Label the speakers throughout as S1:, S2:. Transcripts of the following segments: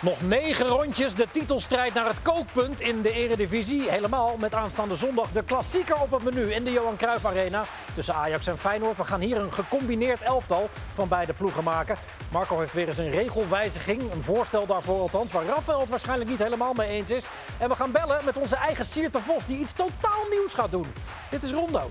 S1: Nog negen rondjes de titelstrijd naar het kookpunt in de Eredivisie. Helemaal met aanstaande zondag de klassieker op het menu in de Johan Cruijff Arena. Tussen Ajax en Feyenoord. We gaan hier een gecombineerd elftal van beide ploegen maken. Marco heeft weer eens een regelwijziging. Een voorstel daarvoor althans. Waar Rafael het waarschijnlijk niet helemaal mee eens is. En we gaan bellen met onze eigen Sierte Vos. Die iets totaal nieuws gaat doen. Dit is Rondo.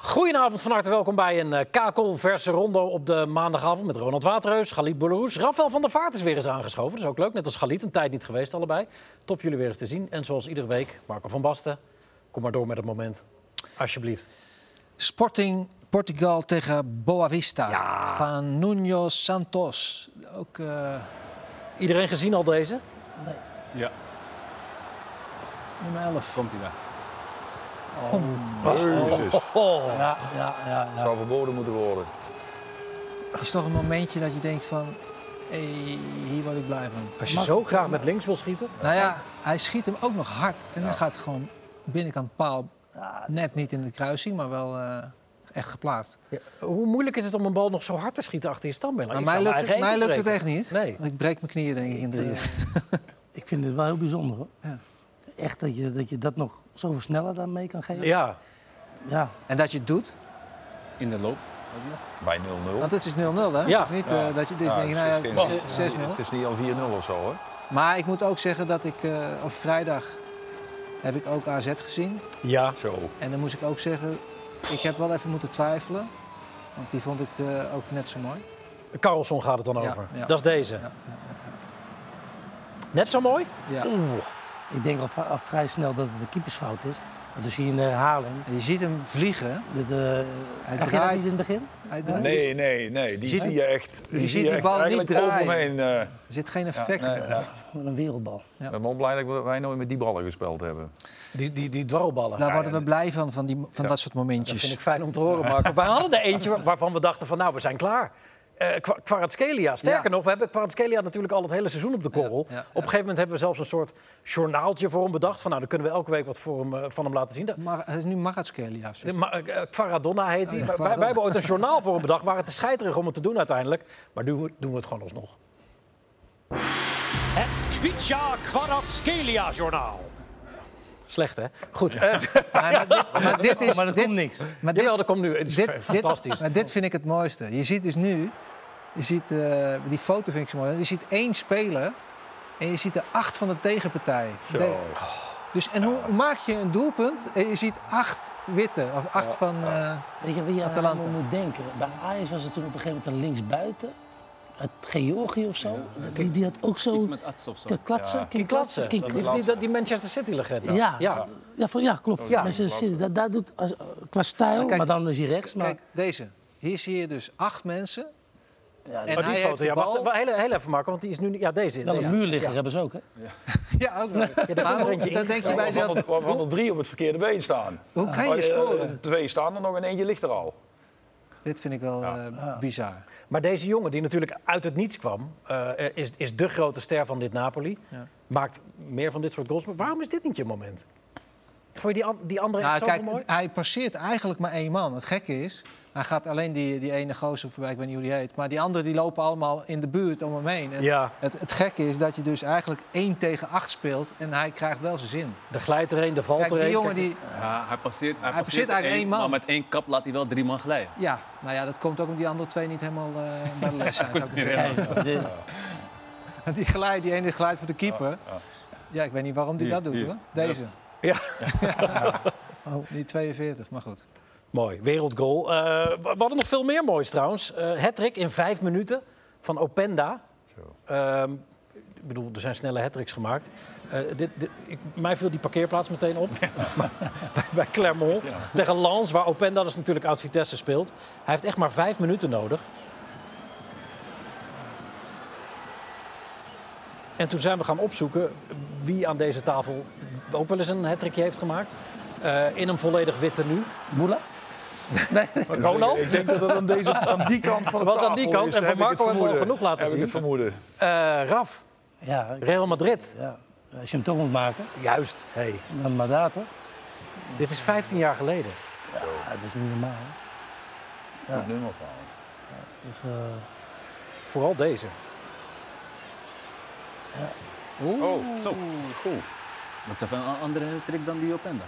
S1: Goedenavond, van harte welkom bij een eh, kakelverse rondo op de maandagavond met Ronald Waterheus, Galit Boulous. Rafael van der Vaart is weer eens aangeschoven, dat is ook leuk. Net als Galit, een tijd niet geweest allebei. Top jullie weer eens te zien. En zoals iedere week, Marco van Basten. Kom maar door met het moment. Alsjeblieft.
S2: Sporting Portugal tegen Boavista van Nuno Santos. Ook eh,
S1: Iedereen gezien al deze?
S3: Ja,
S2: nummer 11.
S3: komt hij daar.
S4: Jezus. Het
S1: Oh,
S2: Ja, ja, ja, ja.
S4: zou verboden moeten worden.
S2: Is toch een momentje dat je denkt van, hé, hier word ik blij van.
S1: als je
S2: Mag-
S1: zo graag met links wil schieten.
S2: Nou ja, hij schiet hem ook nog hard en dan gaat het gewoon binnenkant paal. Net niet in de kruising, maar wel eh, echt geplaatst.
S1: Ja, Hoe moeilijk is het om een bal nog zo hard te schieten achter je standbeen?
S2: Maar
S1: Ik
S2: mij
S1: zou
S2: lukt,
S1: mijn
S2: het,
S1: eigen
S2: mij
S1: eten
S2: lukt het echt
S1: breken.
S2: niet.
S1: Nee.
S2: Want Ik breek mijn knieën denk ik in drieën.
S5: Ik vind het wel heel bijzonder hoor.
S2: Ja.
S5: Echt dat je, dat je dat nog zoveel sneller aan mee kan geven.
S1: Ja,
S5: Ja.
S2: En dat je het doet,
S3: In de loop.
S4: Bij 0-0.
S2: want het is 0-0 hè?
S1: Ja.
S2: Het is niet eh, dat je dit
S4: Ja,
S2: denkt,
S4: het
S2: nou
S4: is
S2: ja, het
S4: geen-
S2: is eh, 6-0.
S4: Het is niet al 4-0 of zo hoor.
S2: Maar ik moet ook zeggen dat ik eh, op vrijdag heb ik ook AZ gezien.
S1: ja.
S4: Zo.
S2: En dan moest ik ook zeggen, ik heb wel even moeten twijfelen. Want die vond ik eh, ook net zo mooi.
S1: Carlson gaat het dan
S2: Ja,
S1: over.
S2: ja.
S1: Dat is deze.
S2: Ja,
S1: Net zo mooi?
S2: ja.
S5: Oeh. Ik denk al, va- al vrij snel dat het een keepersfout is. Want dan zie je een herhaling.
S2: En Je ziet hem vliegen.
S5: De, de,
S2: Hij
S5: Zag je dat
S2: draait.
S5: niet in het begin?
S2: Hij draait.
S4: Nee, nee, nee. Die
S2: Ziet-
S4: zie je echt.
S2: ziet
S4: zie je
S2: die
S4: echt
S2: bal niet
S4: eigenlijk
S2: draaien.
S4: Overheen, eh.
S2: Er zit geen effect
S4: nee,
S2: meer.
S4: ja.
S5: Wat een wereldbal.
S4: Ik ben wel blij dat wij nooit met die ballen gespeeld hebben.
S1: Die, die, die dwarrelballen.
S2: Daar worden we blij van, van, die, van dat soort
S1: Dat
S2: momentjes.
S1: vind ik fijn om te horen, Marco. Wij hadden er eentje waar- waarvan we dachten van, nou, we zijn klaar. Eh Kwa- Kvaratskhelia. Sterker
S2: Ja.
S1: nog, we hebben Kvaratskhelia natuurlijk al het hele seizoen op de korrel.
S2: Ja, ja,
S1: Op een gegeven moment hebben we zelfs een soort journaaltje voor hem bedacht. Van, nou, dan kunnen we elke week wat voor hem, eh, van hem laten zien. Dat-
S2: Maar het is nu Maratskelia.
S1: Ma- eh, Kvaradonna heet hij. Wij-
S2: Oh, ja,
S1: wij,
S2: Kvaradonna.
S1: hebben ooit een journaal voor hem bedacht. Waren te scheiterig om het te doen uiteindelijk. Maar nu doen we- doen we het gewoon alsnog. Het Kvitja Kvaratskhelia journaal. Slecht, hè? Goed. Eh,
S2: Maar dit- maar dit is...
S5: Maar dat
S2: dit-
S5: komt niks.
S2: Maar dit,
S1: Jawel, dat komt nu. Het is fa- fantastisch.
S2: Dit, maar dit vind ik het mooiste. Je ziet dus nu, je ziet, eh, die foto vind ik zo mooi. Je ziet één speler en je ziet er acht van de tegenpartij.
S4: Zo.
S2: De- dus, en hoe maak je een doelpunt en je ziet acht witte of acht van... eh,
S5: Weet je wie je aan
S2: Atalanta.
S5: allemaal moet denken? Bij Ajax was het toen op een gegeven moment een linksbuiten. Uit Georgië of zo. Dat- die, die had ook
S3: Iets
S5: zo...
S3: met Ats of zo.
S5: King Klatsen.
S1: King Klatsen. Die,
S5: King
S1: die, die, die Manchester City-legende.
S5: Ja, ja. voor- ja, klopt.
S1: Ja.
S5: Maar ze- ze- dat, dat doet, als- qua stijl,
S2: kijk,
S5: maar dan is hij rechts. Maar
S2: Kijk, deze. Hier zie je dus acht mensen.
S5: Ja,
S2: en
S1: Oh, die
S2: hij heeft
S1: foto.
S2: de
S1: Ja, wacht,
S2: bal.
S1: wa- heel, heel even maken, want die is nu... niet- Ja, deze.
S5: wel
S1: deze.
S5: een muurligger hebben ze ook, hè?
S2: Ja, ook nog.
S1: daar komt
S2: Maar
S1: er eentje
S2: hoe- dan
S1: in.
S2: denk je bij
S4: Waarvan
S2: jezelf,
S4: er- Waarvan er drie op het verkeerde been staan.
S2: hoe
S1: Oh,
S2: kan je
S4: Eh, eh,
S2: scoren?
S4: Twee staan er nog en eentje ligt er al.
S2: Dit vind ik wel eh, bizar.
S1: Maar deze jongen, die natuurlijk uit het niets kwam... eh, is, is de grote ster van dit Napoli.
S2: Ja.
S1: Maakt meer van dit soort goals. Maar waarom is dit niet je moment? Vond je die, an- die andere
S2: Nou,
S1: echt zo
S2: kijk,
S1: mooi?
S2: hij passeert eigenlijk maar één man. Het gekke is, hij gaat alleen die, die ene gozer voorbij, ik weet niet hoe die heet. Maar die anderen die lopen allemaal in de buurt om hem heen. En
S1: Ja,
S2: het, het gekke is dat je dus eigenlijk één tegen acht speelt en hij krijgt wel zijn zin.
S1: de glijdt er een, de valt
S2: Kijk,
S1: er
S2: die
S1: een.
S2: jongen
S1: Kijk,
S2: die...
S3: Ja, hij passeert, hij
S2: Hij passeert eigenlijk één man.
S3: Maar met één kap laat hij wel drie man glijden.
S2: Ja, nou ja, dat komt ook omdat die andere twee niet helemaal eh, bij de les zijn. zou ik maar zeggen.
S5: Kijk, dit-
S2: Die, geluid, die ene geluid van de keeper. Ja, ik weet niet waarom die
S3: Hier,
S2: dat doet
S3: hier.
S2: hoor. Deze.
S1: Ja.
S2: Oh, niet 42, maar goed.
S1: Mooi, wereldgoal. Eh, we we hadden nog veel meer moois trouwens. Eh hattrick in vijf minuten van Openda.
S4: Zo.
S1: Ehm, ik bedoel, er zijn snelle hattricks gemaakt. Eh, dit, dit- ik, mij viel die parkeerplaats meteen op. Maar bij, bij Clermont tegen Lens, waar Openda dus natuurlijk uit Vitesse speelt. Hij heeft echt maar vijf minuten nodig. En toen zijn we gaan opzoeken wie aan deze tafel ook wel eens een hattrickje heeft gemaakt. Eh, in een volledig witte nu.
S5: Boela?
S1: Ronald?
S4: Dus Ik denk dat het aan, deze, aan die kant van de
S1: Was aan
S4: tafel
S1: die kant
S4: is,
S1: en van
S4: heb ik
S1: Marco
S4: het
S1: hebben we al
S4: vermoeden.
S1: genoeg laten
S4: Heb ik het
S1: zien.
S4: vermoeden.
S1: Eh, Raf,
S5: Ja,
S1: Real Madrid.
S5: ja, als je hem toch moet maken,
S1: Juist. Hey.
S5: dan maar daar toch?
S1: Dit is 15 jaar geleden.
S5: Ja, dat is niet normaal. hè. Ja.
S4: Goed nummer trouwens.
S5: Dus, eh,
S1: Vooral deze.
S3: Oh, zo. Goed. Dat is even een andere trick dan die Openda.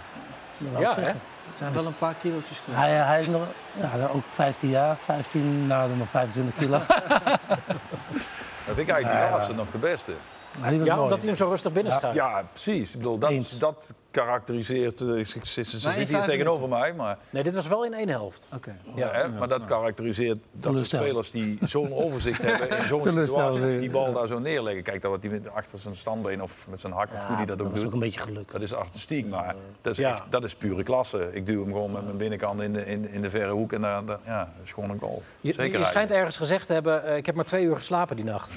S5: dat wou
S1: Ja,
S5: ik zeggen.
S2: Het zijn wel een paar kilo's geleden.
S5: Hij, hij is nog ja, ook 15 jaar, 15, nou dan maar 25 kilo.
S4: Dat vind ik eigenlijk die laatste nog de beste.
S5: Maar die was
S1: Ja,
S5: mooi.
S1: omdat hij hem zo rustig binnenschuift.
S4: Ja, precies. Ik bedoel, dat,
S5: Eens.
S4: dat karakteriseert... eh, Ze, ze, ze, ze
S2: Maar in
S4: zit hier
S2: vijf
S4: tegenover mij, maar,
S1: Nee, dit was wel in één helft.
S2: Oké.
S1: Ja.
S4: hè, maar dat karakteriseert dat de
S5: Teleurstellend.
S4: spelers die zo'n overzicht hebben in zo'n
S2: Teleurstellend,
S4: situatie,
S2: ja.
S4: die bal daar zo neerleggen. Kijk, dat wat hij met, achter zijn standbeen of met zijn hak of
S5: Ja,
S4: hoe hij dat ook
S5: was ook
S4: doet.
S5: een beetje geluk.
S4: Dat is artistiek, maar dat is,
S1: eh, Ja.
S4: echt- dat is pure klasse. Ik duw hem gewoon met mijn binnenkant in de, in, in de verre hoek en daar, daar- ja, dat is gewoon een goal.
S1: Je,
S4: Zeker
S1: je schijnt
S4: eigenlijk.
S1: ergens gezegd te hebben, eh, ik heb maar twee uur geslapen die nacht.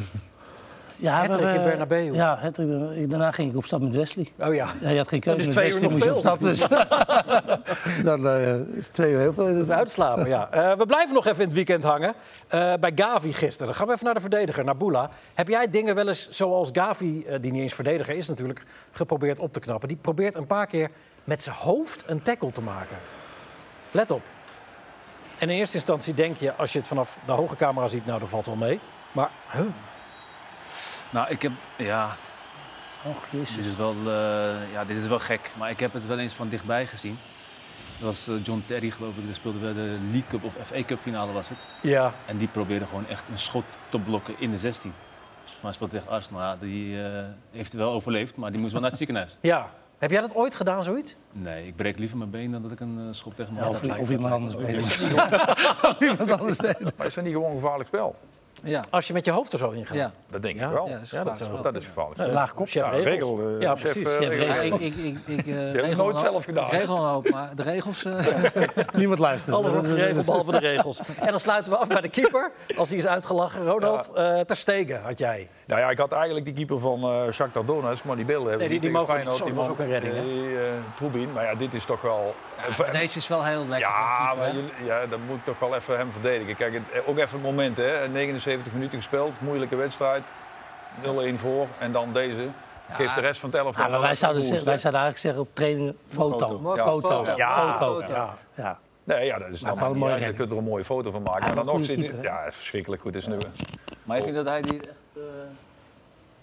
S5: Ja,
S1: Hattrick
S5: maar, eh,
S1: in Bernabeu.
S5: Ja, hattrick in Bernabeu. daarna ging ik op stap met Wesley.
S1: Oh ja,
S5: Hij had geen keuze.
S1: Dat is
S5: met
S1: twee uur
S5: Wesley
S1: nog
S5: moest dus je op stap, dus. Dan eh, is twee uur heel veel.
S1: dat is uitslapen, ja. Eh, we blijven nog even in het weekend hangen. Eh, bij Gavi gisteren. Dan gaan we even naar de verdediger, naar Boula. Heb jij dingen wel eens, zoals Gavi, eh, die niet eens verdediger is natuurlijk, geprobeerd op te knappen? Die probeert een paar keer met zijn hoofd een tackle te maken. Let op. En in eerste instantie denk je, als je het vanaf de hoge camera ziet, nou, dat valt wel mee. Maar, huh,
S3: Nou, ik heb... Ja,
S5: Och,
S3: Dit
S5: Oh, jezus.
S3: is, wel, eh, ja, dit is wel gek, maar ik heb het wel eens van dichtbij gezien. Dat was eh, John Terry, geloof ik. Dat speelde wel de League Cup of FA Cup finale was het.
S1: ja,
S3: En die probeerde gewoon echt een schot te blokken in de 16. Maar hij speelde tegen Arsenal. Ja, die eh, heeft wel overleefd, maar die moest wel naar het ziekenhuis.
S1: ja. Heb jij dat ooit gedaan, zoiets?
S3: Nee, ik breek liever mijn been dan dat ik een eh, schop tegen mijn
S5: Ja,
S3: hand
S5: of,
S3: laat.
S5: of iemand anders bezig.
S4: Maar is dat niet gewoon een gevaarlijk spel?
S2: Ja.
S1: Als je met je hoofd er zo in gaat.
S2: Ja.
S4: Dat denk
S1: Ja,
S4: ik wel.
S2: ja, dat is
S4: dat,
S2: gevaarlijk
S4: is,
S2: spel.
S4: dat is gevaarlijk spel.
S5: Laag kop.
S1: Chef
S4: Ja,
S1: regels.
S4: regel, eh,
S1: ja,
S4: chef,
S1: precies.
S4: eh,
S5: Chef
S4: regel.
S5: regel.
S2: Ja, ik, ik, ik, ik, eh,
S4: ik
S2: regel
S4: nooit
S2: een
S4: zelf
S2: hoop-
S4: gedaan.
S2: Regel een hoop, maar de regels. eh,
S5: Niemand luistert.
S1: Alles wordt geregeld behalve de regels. En dan sluiten we af bij de keeper. Als hij is uitgelachen. Ronald, eh, ter stegen had jij.
S4: Nou ja, ik had eigenlijk die keeper van eh Shakhtar Donetsk, maar die beelden hebben
S1: Nee, die- die
S4: tegen
S1: mogen niet.
S4: Feyenoord,
S1: Sorry, was
S4: die
S1: ook
S4: man,
S1: een redding, hè?
S4: eh, eh, Trubin, maar ja, dit is toch wel...
S2: maar deze is wel heel lekker. voor een
S4: ja,
S2: keeper,
S4: maar
S2: hè?
S4: jullie- ja, dan moet ik toch wel even hem verdedigen. Kijk, het, eh, ook even het moment, hè. 79 minuten gespeeld, moeilijke wedstrijd. 0-1 voor en dan deze. Geeft de rest van het elftal
S5: Ja, maar
S4: wel
S5: wij
S4: even
S5: zouden,
S4: een
S5: zeggen-
S4: boost,
S5: wij
S4: hè.
S5: zouden eigenlijk zeggen op trainingen
S2: Foto.
S5: foto. Foto.
S2: Ja.
S4: Ja.
S5: Foto.
S1: Ja.
S5: Ja.
S4: Nee, ja, dat is dan
S5: is wel een
S4: niet
S5: mooie
S4: uit. Je
S5: redding.
S4: kunt er een mooie foto van maken.
S5: Ja,
S4: maar dan
S5: wat
S4: nog
S5: een
S4: zit
S5: goede
S4: hij...
S5: keeper,
S4: Ja, verschrikkelijk goed. Is nu,
S3: Maar ik vind dat hij hier echt... eh,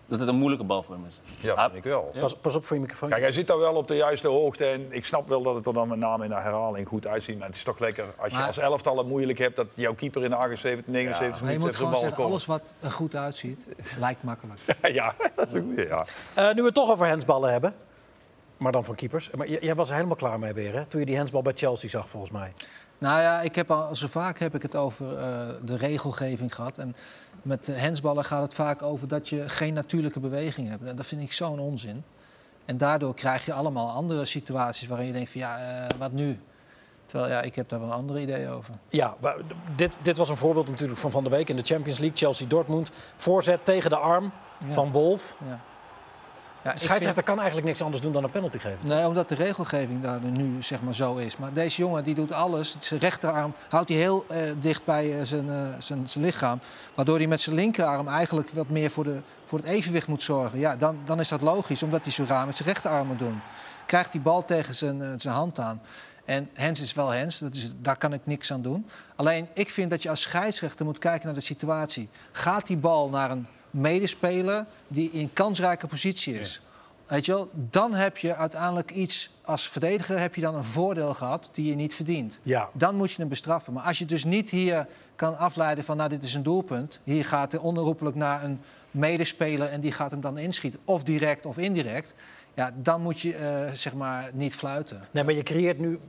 S3: dat het een moeilijke bal voor hem is.
S4: ja, vind ik wel.
S1: Pas, pas op voor je microfoon.
S4: Kijk, hij zit daar wel op de juiste hoogte. En ik snap wel dat het er dan met name in de herhaling goed uitziet. Maar het is toch lekker als je
S2: Maar-
S4: als elftal het moeilijk hebt... dat jouw keeper in de 78, 79
S2: Maar je
S4: minuten
S2: moet
S4: even de
S2: gewoon
S4: bal
S2: zeggen,
S4: komt.
S2: alles wat er goed uitziet, lijkt makkelijk.
S4: Ja, dat is ook weer, ja.
S1: Eh, nu we het toch over hensballen hebben. Maar dan van keepers. Maar j- jij was er helemaal klaar mee weer, hè? Toen je die hensbal bij Chelsea zag, volgens mij.
S2: Nou ja, ik heb al, zo vaak heb ik het over eh, de regelgeving gehad. En met eh, hensballen gaat het vaak over dat je geen natuurlijke beweging hebt. En dat vind ik zo'n onzin. En daardoor krijg je allemaal andere situaties waarin je denkt van ja, eh, wat nu? Terwijl ja, ik heb daar wel een ander idee over.
S1: Ja, maar d- dit, dit was een voorbeeld natuurlijk van van de week in de Champions League. Chelsea-Dortmund. Voorzet tegen de arm
S2: Ja.
S1: van Wolf.
S2: Ja. Ja, ik
S1: De
S2: vind-
S1: scheidsrechter kan eigenlijk niks anders doen dan een penalty geven.
S2: Nee, omdat de regelgeving daar nu zeg maar zo is. Maar deze jongen die doet alles. Zijn rechterarm houdt hij heel eh, dicht bij eh, zijn, eh, zijn, zijn lichaam. Waardoor hij met zijn linkerarm eigenlijk wat meer voor, de, voor het evenwicht moet zorgen. Ja, dan, dan is dat logisch, omdat hij zo raar met zijn rechterarm moet doen. Krijgt die bal tegen zijn, eh, zijn hand aan. En Hens is wel Hens, dat is, daar kan ik niks aan doen. Alleen ik vind dat je als scheidsrechter moet kijken naar de situatie. Gaat die bal naar een medespeler die in kansrijke positie is? Weet je wel, dan heb je uiteindelijk iets, als verdediger heb je dan een voordeel gehad die je niet verdient.
S1: Ja.
S2: Dan moet je hem bestraffen. Maar als je dus niet hier kan afleiden van, nou dit is een doelpunt. Hier gaat hij onherroepelijk naar een medespeler en die gaat hem dan inschieten. Of direct of indirect. Ja, dan moet je eh, zeg maar niet fluiten.
S1: Nee, maar je creëert nu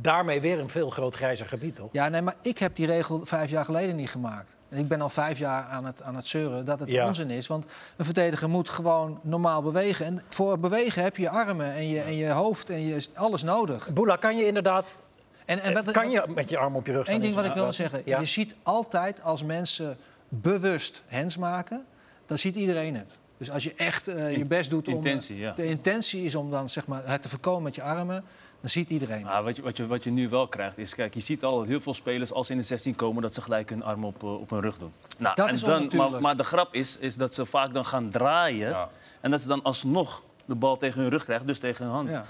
S1: daarmee weer een veel groot grijzer gebied, toch?
S2: Ja, nee, maar ik heb die regel vijf jaar geleden niet gemaakt. En ik ben al vijf jaar aan het, aan het zeuren dat het
S1: Ja.
S2: onzin is. Want een verdediger moet gewoon normaal bewegen. En voor het bewegen heb je je armen en je, en je hoofd en je, alles nodig.
S1: Boela, kan je inderdaad
S2: En, en wat,
S1: Eh, kan je met je arm op je rug staan?
S2: Eén ding
S1: is
S2: wat ik
S1: het-
S2: wil zeggen.
S1: Ja.
S2: Je ziet altijd als mensen bewust hands maken, dan ziet iedereen het. Dus als je echt eh, je
S3: In-
S2: best doet om...
S3: intentie, ja.
S2: De intentie is om dan zeg maar, het te voorkomen met je armen, dan ziet iedereen het.
S3: Maar Nou, wat, je, wat, je, wat je nu wel krijgt is, kijk, je ziet al heel veel spelers als ze in de 16 komen dat ze gelijk hun arm op, eh, op hun rug doen. Nou,
S2: Dat
S3: en
S2: is
S3: dan,
S2: onnatuurlijk.
S3: maar, maar de grap is, is dat ze vaak dan gaan draaien
S4: Ja.
S3: en dat ze dan alsnog de bal tegen hun rug krijgen, dus tegen hun hand.
S2: Ja.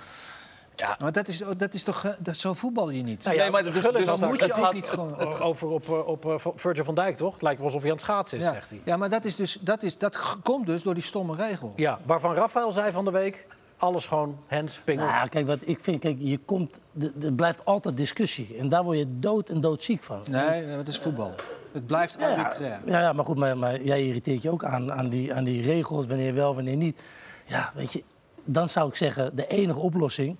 S3: Ja, Ja.
S2: Maar dat is, dat is toch, eh, dat, zo voetbal je niet?
S1: Nou ja,
S3: Nee, maar dat is-
S1: Gullit
S3: dus
S1: had
S2: dan
S1: daar-
S2: moet
S3: het
S2: je ook
S3: gaat-
S2: niet gewoon...
S1: het over op, eh, op eh, Virgil van Dijk, toch? Het lijkt wel alsof hij aan het schaatsen is,
S2: ja.
S1: zegt hij.
S2: ja, maar dat, is dus, dat, is, dat g- komt dus door die stomme regel.
S1: Ja, waarvan Rafael zei van de week... alles gewoon hands, pingel.
S5: Nou, ja, kijk, wat ik vind, kijk, je komt, d- er blijft altijd discussie. En daar word je dood en doodziek van.
S2: Nee, dat is voetbal. Het blijft arbitrair.
S5: Ja, ja, maar goed, maar, maar jij irriteert je ook aan, aan, die, aan die regels, wanneer wel, wanneer niet. Ja, weet je, dan zou ik zeggen, de enige oplossing,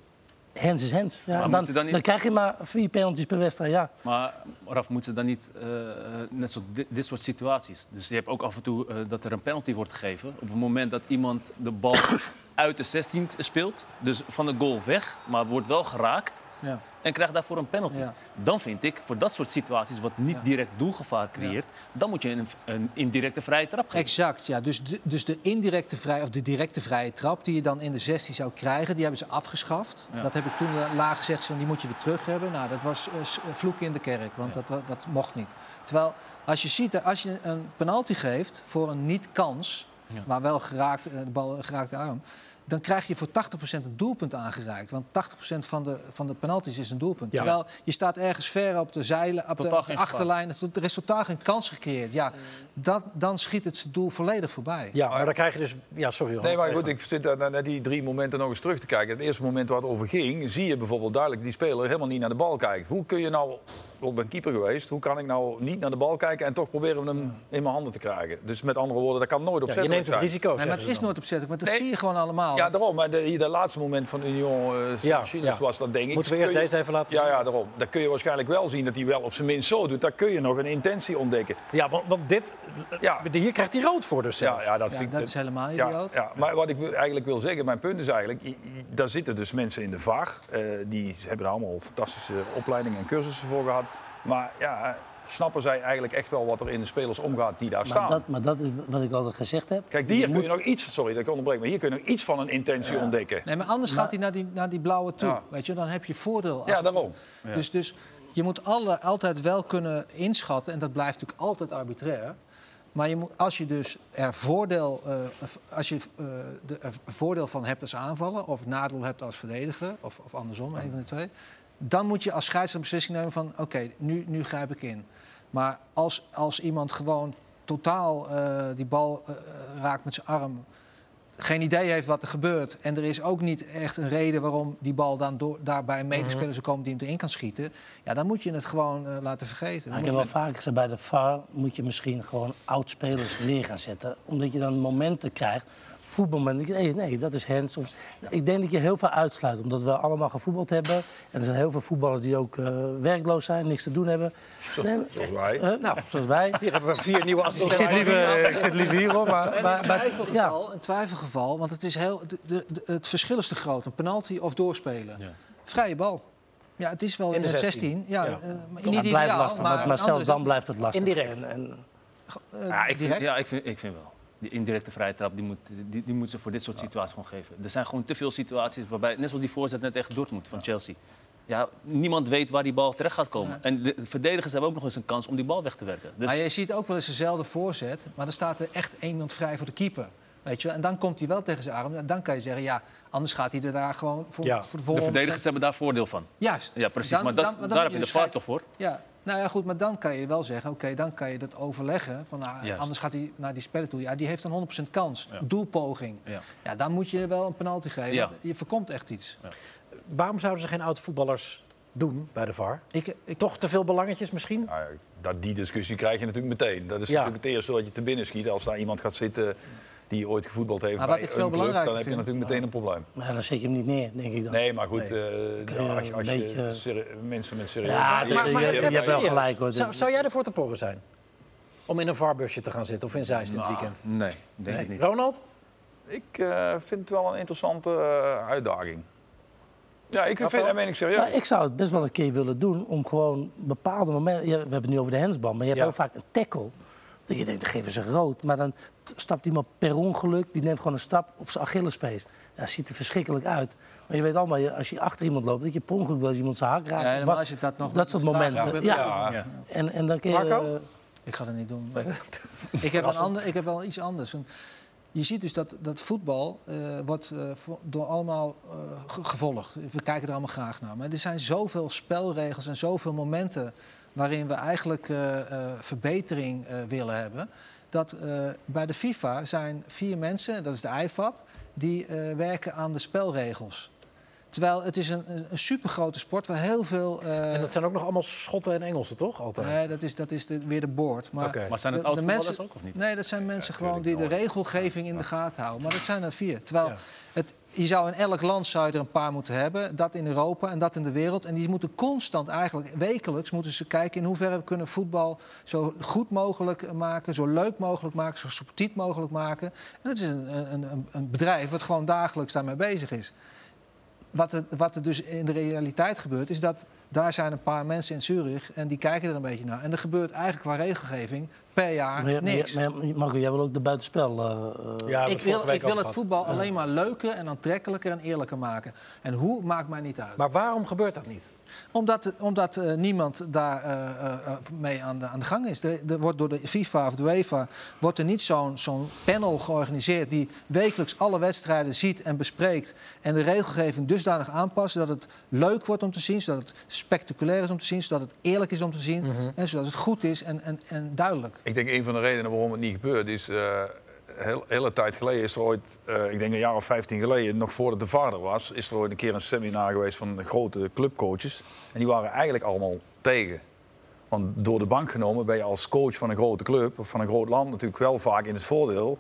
S5: hands is hands. Ja, en dan,
S3: moeten
S5: dan,
S3: dan niet-
S5: krijg je maar vier penalties per wedstrijd, ja.
S3: Maar Raf, moeten ze dan niet eh, eh, net zo dit, dit soort situaties? Dus je hebt ook af en toe eh, dat er een penalty wordt gegeven. Op het moment dat iemand de bal uit de 16 speelt, dus van de goal weg, maar wordt wel geraakt
S2: Ja.
S3: en krijgt daarvoor een penalty.
S2: Ja.
S3: Dan vind ik, voor dat soort situaties wat niet direct doelgevaar creëert, dan moet je een, een indirecte vrije trap geven.
S2: Exact, ja. Dus de, dus de indirecte vrije, of de directe vrije trap die je dan in de 16 zou krijgen, die hebben ze afgeschaft.
S3: Ja.
S2: Dat heb ik toen eh, laag gezegd, van, die moet je weer terug hebben. Nou, dat was eh, s- vloek in de kerk, want dat, wa- dat mocht niet. Terwijl, als je ziet, dat als je een penalty geeft voor een niet-kans,
S3: Ja.
S2: maar wel geraakt, eh, de bal geraakt de arm, dan krijg je voor 80% een doelpunt aangereikt. Want 80% van de, van de penalties is een doelpunt.
S1: Ja.
S2: Terwijl je staat ergens ver op de zeilen, op de,
S3: Totaal
S2: op de
S3: geen gevaar.
S2: achterlijn. Er is totaal geen kans gecreëerd. Ja, dat, dan schiet het zijn doel volledig voorbij.
S1: Ja, maar dan krijg je dus... Ja, sorry. Hans,
S4: Nee, maar
S1: ga je
S4: goed, ik zit daar naar, naar die drie momenten nog eens terug te kijken. Het eerste moment waar het over ging, zie je bijvoorbeeld duidelijk dat die speler helemaal niet naar de bal kijkt. Hoe kun je nou, ik ben keeper geweest, hoe kan ik nou niet naar de bal kijken en toch proberen hem in mijn handen te krijgen? Dus met andere woorden, dat kan nooit
S1: gang. Ja, je
S4: opzettelijk
S1: neemt het
S4: zijn.
S1: risico,
S2: Nee, maar
S1: zeggen
S2: het
S1: ze
S2: is
S1: dan.
S2: nooit opzettelijk, want dat
S4: Nee.
S2: zie je gewoon allemaal.
S4: Ja, daarom. Maar de, dat laatste moment van Union eh
S1: Ja,
S4: Chile
S1: ja.
S4: was dat, denk ik.
S1: Moeten we eerst
S4: Kun je-
S1: deze even laten zien?
S4: Ja, ja, daarom. Dan kun je waarschijnlijk wel zien dat hij wel op zijn minst zo doet. Daar kun je nog een intentie ontdekken.
S1: Ja, want, want dit...
S4: Ja.
S1: Hier krijgt hij rood voor dus
S4: Ja,
S1: zelfs.
S4: ja, dat,
S2: Ja,
S4: vind ik,
S2: dat is helemaal
S4: Ja,
S2: idioot.
S4: ja, maar wat ik wil- eigenlijk wil zeggen, mijn punt is eigenlijk, i- i- daar zitten dus mensen in de VAR. eh, die hebben daar allemaal fantastische opleidingen en cursussen voor gehad. Maar ja, snappen zij eigenlijk echt wel wat er in de spelers omgaat die daar
S5: Maar
S4: staan?
S5: dat, maar dat is wat ik altijd gezegd heb.
S4: Kijk, hier kun je nog iets, sorry dat ik onderbreek, maar hier kun je nog iets van een intentie ontdekken.
S2: Nee, maar anders gaat hij naar die, naar die blauwe toe.
S4: Ja.
S2: Weet je, dan heb je voordeel. als
S4: Ja,
S2: het-
S4: daarom.
S2: Dus, dus je moet alle, altijd wel kunnen inschatten, en dat blijft natuurlijk altijd arbitrair. Maar je moet, als je dus er voordeel, eh, v- als je, eh, de, er voordeel van hebt als aanvaller, of nadeel hebt als verdediger, of, of andersom, een van de twee, dan moet je als scheidsrechter een beslissing nemen van oké, nu, nu grijp ik in. Maar als, als iemand gewoon totaal eh, die bal eh, eh, raakt met zijn arm, geen idee heeft wat er gebeurt. En er is ook niet echt een reden waarom die bal dan door, daarbij
S5: Mhm.
S2: een medespeler zou komen die hem erin kan schieten. Ja, dan moet je het gewoon eh, laten vergeten. Dan
S5: Maar ik
S2: moet
S5: heb
S2: je-
S5: wel vaker gezegd, bij de VAR moet je misschien gewoon oud-spelers neer gaan zetten. Omdat je dan momenten krijgt, voetbalmomenten. Nee, nee, dat is hands. Of, ik denk dat je heel veel uitsluit, omdat we allemaal gevoetbald hebben. En er zijn heel veel voetballers die ook eh, werkloos zijn, niks te doen hebben. Nee,
S4: Zoals wij.
S5: eh, nou, zoals wij.
S1: Hier hebben we vier nieuwe
S6: Ik
S1: assistenten.
S6: zit
S4: eh,
S6: liever, ik zit liever hier hoor, maar,
S2: En
S6: maar,
S2: een,
S6: maar-
S2: twijfelgeval, een twijfelgeval, want het, is heel, de, de- de- het verschil is te groot. Een penalty of doorspelen.
S3: Ja.
S2: Vrije bal. Ja, het is wel in de 16. Ja,
S1: Ja.
S2: eh, maar
S5: Het
S2: niet
S5: blijft
S2: ideaal,
S5: lastig,
S2: maar,
S5: maar, maar zelfs dan
S2: anders
S5: blijft het lastig.
S1: Indirect.
S5: En, en,
S2: dan, eh,
S3: Ja, ik vind,
S2: direct.
S3: ja ik, vind, ik vind wel. Die indirecte vrije trap die moet, die, die moet ze voor dit soort situaties gewoon geven. Er zijn gewoon te veel situaties waarbij, net zoals die voorzet net echt door moet van Chelsea. Ja, niemand weet waar die bal terecht gaat komen. En de verdedigers hebben ook nog eens een kans om die bal weg te werken. Dus
S2: Maar je ziet ook wel eens dezelfde voorzet, maar dan staat er echt iemand vrij voor de keeper. Weet je wel? En dan komt hij wel tegen zijn arm. En dan kan je zeggen, ja, anders gaat hij er daar gewoon voor,
S1: Ja.
S2: voor de
S3: de
S2: volgende.
S3: verdedigers hebben daar voordeel van.
S2: Juist.
S3: Ja, precies.
S2: Dan-
S3: maar dat,
S2: dan- dan moet
S3: daar heb
S2: je
S3: je de
S2: dus
S3: vaart
S2: kijken-
S3: toch voor.
S2: Ja, nou ja, goed, maar dan kan je wel zeggen, oké, dan kan je dat overleggen. Van, nou,
S3: Juist.
S2: anders gaat hij naar die speler toe. Ja, die heeft een 100% kans. Doelpoging.
S3: Ja.
S2: Ja, dan moet je wel een penalty geven.
S3: Ja.
S2: Je voorkomt echt iets.
S1: Waarom zouden ze geen oud-voetballers doen bij de VAR?
S2: Ik, ik,
S1: Toch te veel belangetjes misschien?
S4: Nou ja, dat, die discussie krijg je natuurlijk meteen. Dat is
S1: Ja.
S4: natuurlijk het eerste wat je te binnen schiet. Als daar iemand gaat zitten die ooit gevoetbald heeft
S2: Maar wat
S4: bij
S2: ik
S4: een
S2: veel
S4: club,
S2: belangrijker
S4: dan heb je
S2: vind-
S4: natuurlijk meteen een probleem.
S5: maar dan zet je hem niet neer, denk ik dan.
S4: Nee, maar goed, eh,
S5: Kun je
S4: als je, als
S5: een
S4: je
S5: beetje-
S4: serie- mensen met serieus...
S5: Ja,
S4: Ja,
S5: dat-
S4: ja,
S5: je-
S4: ja,
S5: je- je
S4: ja,
S5: hebt wel
S1: serieus.
S5: gelijk, hoor. Dus-
S1: Zou, zou jij ervoor te porren zijn? Om in een VAR-busje te gaan zitten of in Zeist dit weekend?
S3: Nou, Nee, denk ik
S1: Nee.
S3: niet.
S1: Ronald?
S4: Ik eh, vind het wel een interessante eh, uitdaging. Ja, ik vind, dat meen ik serieus.
S5: Nou, ik zou het best wel een keer willen doen om gewoon bepaalde momenten. ja, we hebben het nu over de hensband, maar je hebt
S1: Ja.
S5: heel vaak een tackle. Dat je denkt, dan geven ze rood. Maar dan t- stapt iemand per ongeluk, die neemt gewoon een stap op zijn Achillespees. Ja, dat ziet er verschrikkelijk uit. Maar je weet allemaal, je- als je achter iemand loopt, dat je per ongeluk wel eens iemand zijn hak raakt.
S2: Ja,
S5: of
S2: helemaal
S5: wat.
S2: als je dat nog
S5: dat soort
S2: moet vragen.
S5: momenten.
S2: Ja,
S5: Ja,
S4: ja.
S5: En, en dan kun je,
S2: Ah,
S1: Marco?
S5: eh,
S2: ik ga dat niet doen. maar- ik, heb een ander, ik heb wel iets anders. Een- je ziet dus dat, dat voetbal eh, wordt eh, vo- door allemaal eh, ge- gevolgd. We kijken er allemaal graag naar. Maar er zijn zoveel spelregels en zoveel momenten waarin we eigenlijk eh, eh, verbetering eh, willen hebben. Dat eh, bij de FIFA zijn vier mensen, dat is de IFAB, die eh, werken aan de spelregels. Terwijl het is een, een een supergrote sport waar heel veel... eh,
S1: En dat zijn ook nog allemaal Schotten en Engelsen, toch? Altijd.
S2: Nee, dat is, dat is de- weer de board. Maar
S1: Oké.
S3: Maar zijn het
S2: de- de
S3: oud-voetballers
S2: mensen-
S3: ook of niet?
S2: Nee, dat zijn mensen gewoon die de regelgeving in de gaten houden. Maar dat zijn er vier. Terwijl het, je zou in elk land zou je er een paar moeten hebben. Dat in Europa en dat in de wereld. En die moeten constant eigenlijk, wekelijks moeten ze kijken... in hoeverre we kunnen voetbal zo goed mogelijk maken... zo leuk mogelijk maken, zo subtiel mogelijk maken. En dat is een, een, een- een bedrijf wat gewoon dagelijks daarmee bezig is. Wat er, wat er dus in de realiteit gebeurt, is dat daar zijn een paar mensen in Zurich en die kijken er een beetje naar. En er gebeurt eigenlijk qua regelgeving per jaar
S5: Maar,
S2: niks.
S5: maar, maar- Marco, jij wil ook de buitenspel. eh, eh,
S4: Ja,
S2: ik wil, ik wil het voetbal alleen maar leuker en aantrekkelijker en eerlijker maken. En hoe, maakt mij niet uit.
S1: Maar waarom gebeurt dat niet?
S2: Omdat, omdat eh, niemand daar eh, eh, eh, mee aan de, aan de gang is. Er, er wordt door de FIFA of de UEFA wordt er niet zo'n zo'n panel georganiseerd... die wekelijks alle wedstrijden ziet en bespreekt... en de regelgeving dusdanig aanpast dat het leuk wordt om te zien... zodat het spectaculair is om te zien, zodat het eerlijk is om te zien... en zodat het goed is en, en, en duidelijk.
S4: Ik denk een van de redenen waarom het niet gebeurt is. eh heel, hele tijd geleden is er ooit, eh, ik denk een jaar of 15 geleden, nog voordat de vader was, is er ooit een keer een seminar geweest van de grote clubcoaches. En die waren eigenlijk allemaal tegen. Want door de bank genomen ben je als coach van een grote club of van een groot land natuurlijk wel vaak in het voordeel.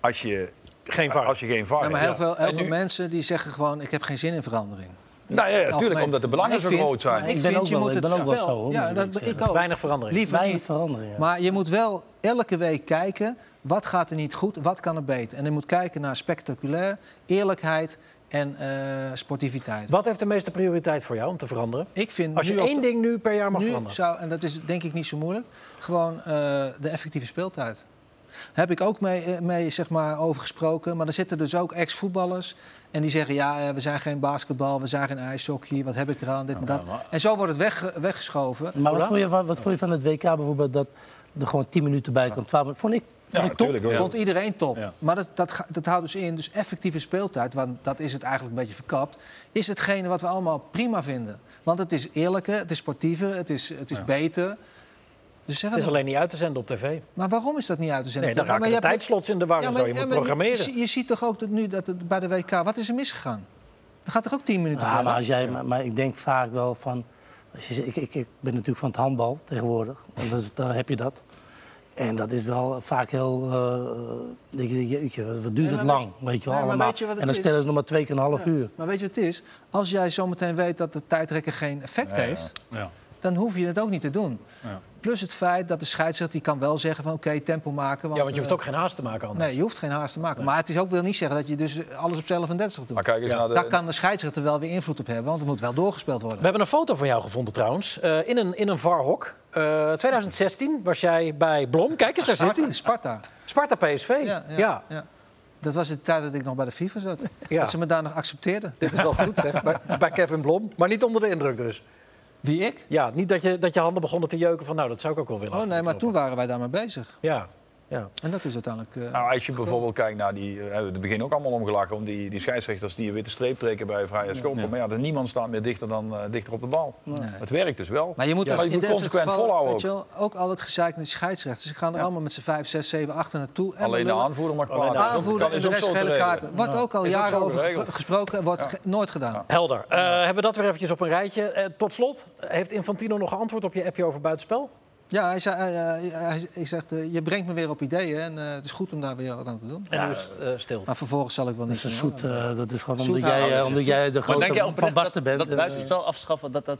S4: Als je geen
S1: VAR.
S4: Als je geen VAR
S2: Ja, maar heel
S4: hebt.
S2: veel, heel
S4: En
S2: veel
S4: nu-
S2: mensen die zeggen gewoon... ik heb geen zin in verandering.
S4: Nou ja, natuurlijk,
S2: Algemeen.
S4: omdat de belangen
S2: Maar
S4: zo
S2: ik vind-
S4: groot zijn.
S2: maar Ik
S5: Ik ben
S2: vind,
S5: ook
S2: je
S5: wel-
S2: moet
S5: ik
S2: het
S5: ben ook wel
S2: spel-
S5: zo, hoor,
S2: Ja,
S5: moet ik
S2: dat,
S5: zeggen.
S2: ik ook.
S1: Weinig verandering.
S2: Liever
S5: weinig
S2: niet.
S5: veranderen. Ja.
S2: Maar je moet wel elke week kijken, wat gaat er niet goed, wat kan er beter? En je moet kijken naar spectaculair, eerlijkheid en eh, sportiviteit.
S1: Wat heeft de meeste prioriteit voor jou om te veranderen?
S2: Ik vind
S1: Als je
S2: nu op
S1: één
S2: de-
S1: ding nu per jaar mag
S2: nu
S1: veranderen.
S2: zou, en dat is denk ik niet zo moeilijk, gewoon eh, de effectieve speeltijd. Heb ik ook mee, eh, mee zeg maar, over gesproken. Maar er zitten dus ook ex-voetballers. En die zeggen, ja, eh, we zijn geen basketbal, we zijn geen ijshockey. Wat heb ik eraan, dit en
S4: Nou,
S2: dat. En zo wordt het weg, weggeschoven.
S5: Maar wat vond, je van, wat vond je van het WK bijvoorbeeld dat er gewoon 10 minuten bij kwam? 12 minuten? Vond ik, vond ik top.
S4: natuurlijk. hoor.
S2: Vond iedereen top.
S3: Ja.
S2: Maar dat, dat, ga- dat houdt dus in, dus effectieve speeltijd, want dat is het eigenlijk een beetje verkapt, is hetgene wat we allemaal prima vinden. Want het is eerlijker, het is sportiever, het is, het is beter. Dus zeg
S1: Het
S2: het
S1: is alleen niet uit te zenden op tv.
S2: Maar waarom is dat niet uit te zenden?
S1: Nee, dan
S2: Ja, maar
S1: raken
S2: je
S1: de
S2: hebt-
S1: tijdslots in de war
S2: Ja,
S1: en
S2: maar-
S1: zo. Je
S2: ja,
S1: moet
S2: maar
S1: programmeren.
S2: Je, je ziet toch ook dat nu dat het bij de WK, wat is er misgegaan? Er gaat toch ook tien minuten verder?
S5: Ja, Nou, maar, als jij, maar, maar ik denk vaak wel van. Als je, zegt- ik, ik, ik ben natuurlijk van het handbal tegenwoordig. Want dat is, dan heb je dat. En dat is wel vaak heel. eh, denk je, jeetje, wat, wat duurt
S2: Nee,
S5: het
S2: maar
S5: lang? Weet je wel,
S2: Nee, maar
S5: allemaal.
S2: weet je wat
S5: en
S2: het is?
S5: dan spelen ze nog maar twee keer een half uur.
S2: Maar weet je wat het is? Als jij zometeen weet dat de tijdrekker geen effect heeft...
S3: Ja.
S2: dan hoef je het ook niet te doen.
S3: Ja.
S2: Plus het feit dat de scheidsrechter die kan wel zeggen van... oké, tempo maken.
S1: Ja, want je hoeft
S2: eh,
S1: ook geen haast te maken anders.
S2: Nee, je hoeft geen haast te maken. Maar het is ook wil niet zeggen dat je dus alles op 11 en 30 doet.
S4: Maar kijk eens naar de,
S2: Daar kan de scheidsrechter wel weer invloed op hebben, want het moet wel doorgespeeld
S1: We
S2: worden.
S1: hebben een foto van jou gevonden trouwens. Eh, in, een, in een varhok. Eh 2016 was jij bij Blom. Kijk eens, daar zit
S2: Sparta.
S1: hij.
S2: Sparta.
S1: Sparta PSV.
S2: Ja, ja,
S1: ja.
S2: ja. Dat was de tijd dat ik nog bij de FIFA zat.
S1: Ja.
S2: Dat ze me daar nog accepteerden.
S1: Dit is wel goed, zeg. Bij, bij Kevin Blom. Maar niet onder de indruk dus.
S2: Wie ik?
S1: Ja, niet dat je, dat je handen begonnen te jeuken van... nou, dat zou ik ook wel willen.
S2: Oh nee, maar toen waren wij daarmee bezig.
S1: Ja, ja.
S2: En dat is uiteindelijk... eh,
S4: Nou, als je bijvoorbeeld kijkt naar die, eh, hebben we het begin ook allemaal omgelachen om die, die scheidsrechters die een witte streep trekken bij vrije schoppen. Maar ja, dan niemand staat meer dichter, dan, eh, dichter op de bal. Het werkt dus wel.
S2: Maar je moet,
S4: Ja,
S2: als-
S4: maar je
S2: in
S4: moet
S2: dit soort
S4: consequent
S2: gevallen,
S4: volhouden
S2: weet je wel, ook al het gezeik met die scheidsrechters. Ze gaan er allemaal met z'n 5, 6, 7, 8 naartoe. En
S4: Alleen de
S2: lullen.
S4: aanvoerder mag
S1: Alleen de
S4: praten. Dat
S2: aanvoerder
S4: kan-
S2: en
S4: is
S2: de
S4: ook
S2: rest
S4: zo te
S2: gele
S4: regelen.
S2: kaarten. Wat ook al
S4: Is ook
S2: jaren
S4: zo
S2: over
S4: geregeld.
S2: gespro- gesproken wordt ge- nooit gedaan.
S1: Helder. Eh, hebben we dat weer eventjes op een rijtje. Eh, tot slot, heeft Infantino nog geantwoord op je appje over buitenspel?
S2: Ja, hij, zei, hij, hij- hij- hij zegt, eh, je brengt me weer op ideeën en eh, het is goed om daar weer wat aan te doen.
S1: En nu is het eh, stil.
S2: Maar vervolgens zal ik wel
S5: Dat
S2: niet
S5: is een
S2: doen,
S5: zoet.
S2: hoor.
S5: eh, dat is gewoon
S2: Zoet
S5: omdat jij, eh,
S2: houden.
S5: omdat jij de
S3: Maar denk jij
S5: grote van
S3: oprecht
S5: Basten
S3: dat,
S5: bent.
S3: dat
S5: en, eh,
S3: buitenspel afschaffen, dat dat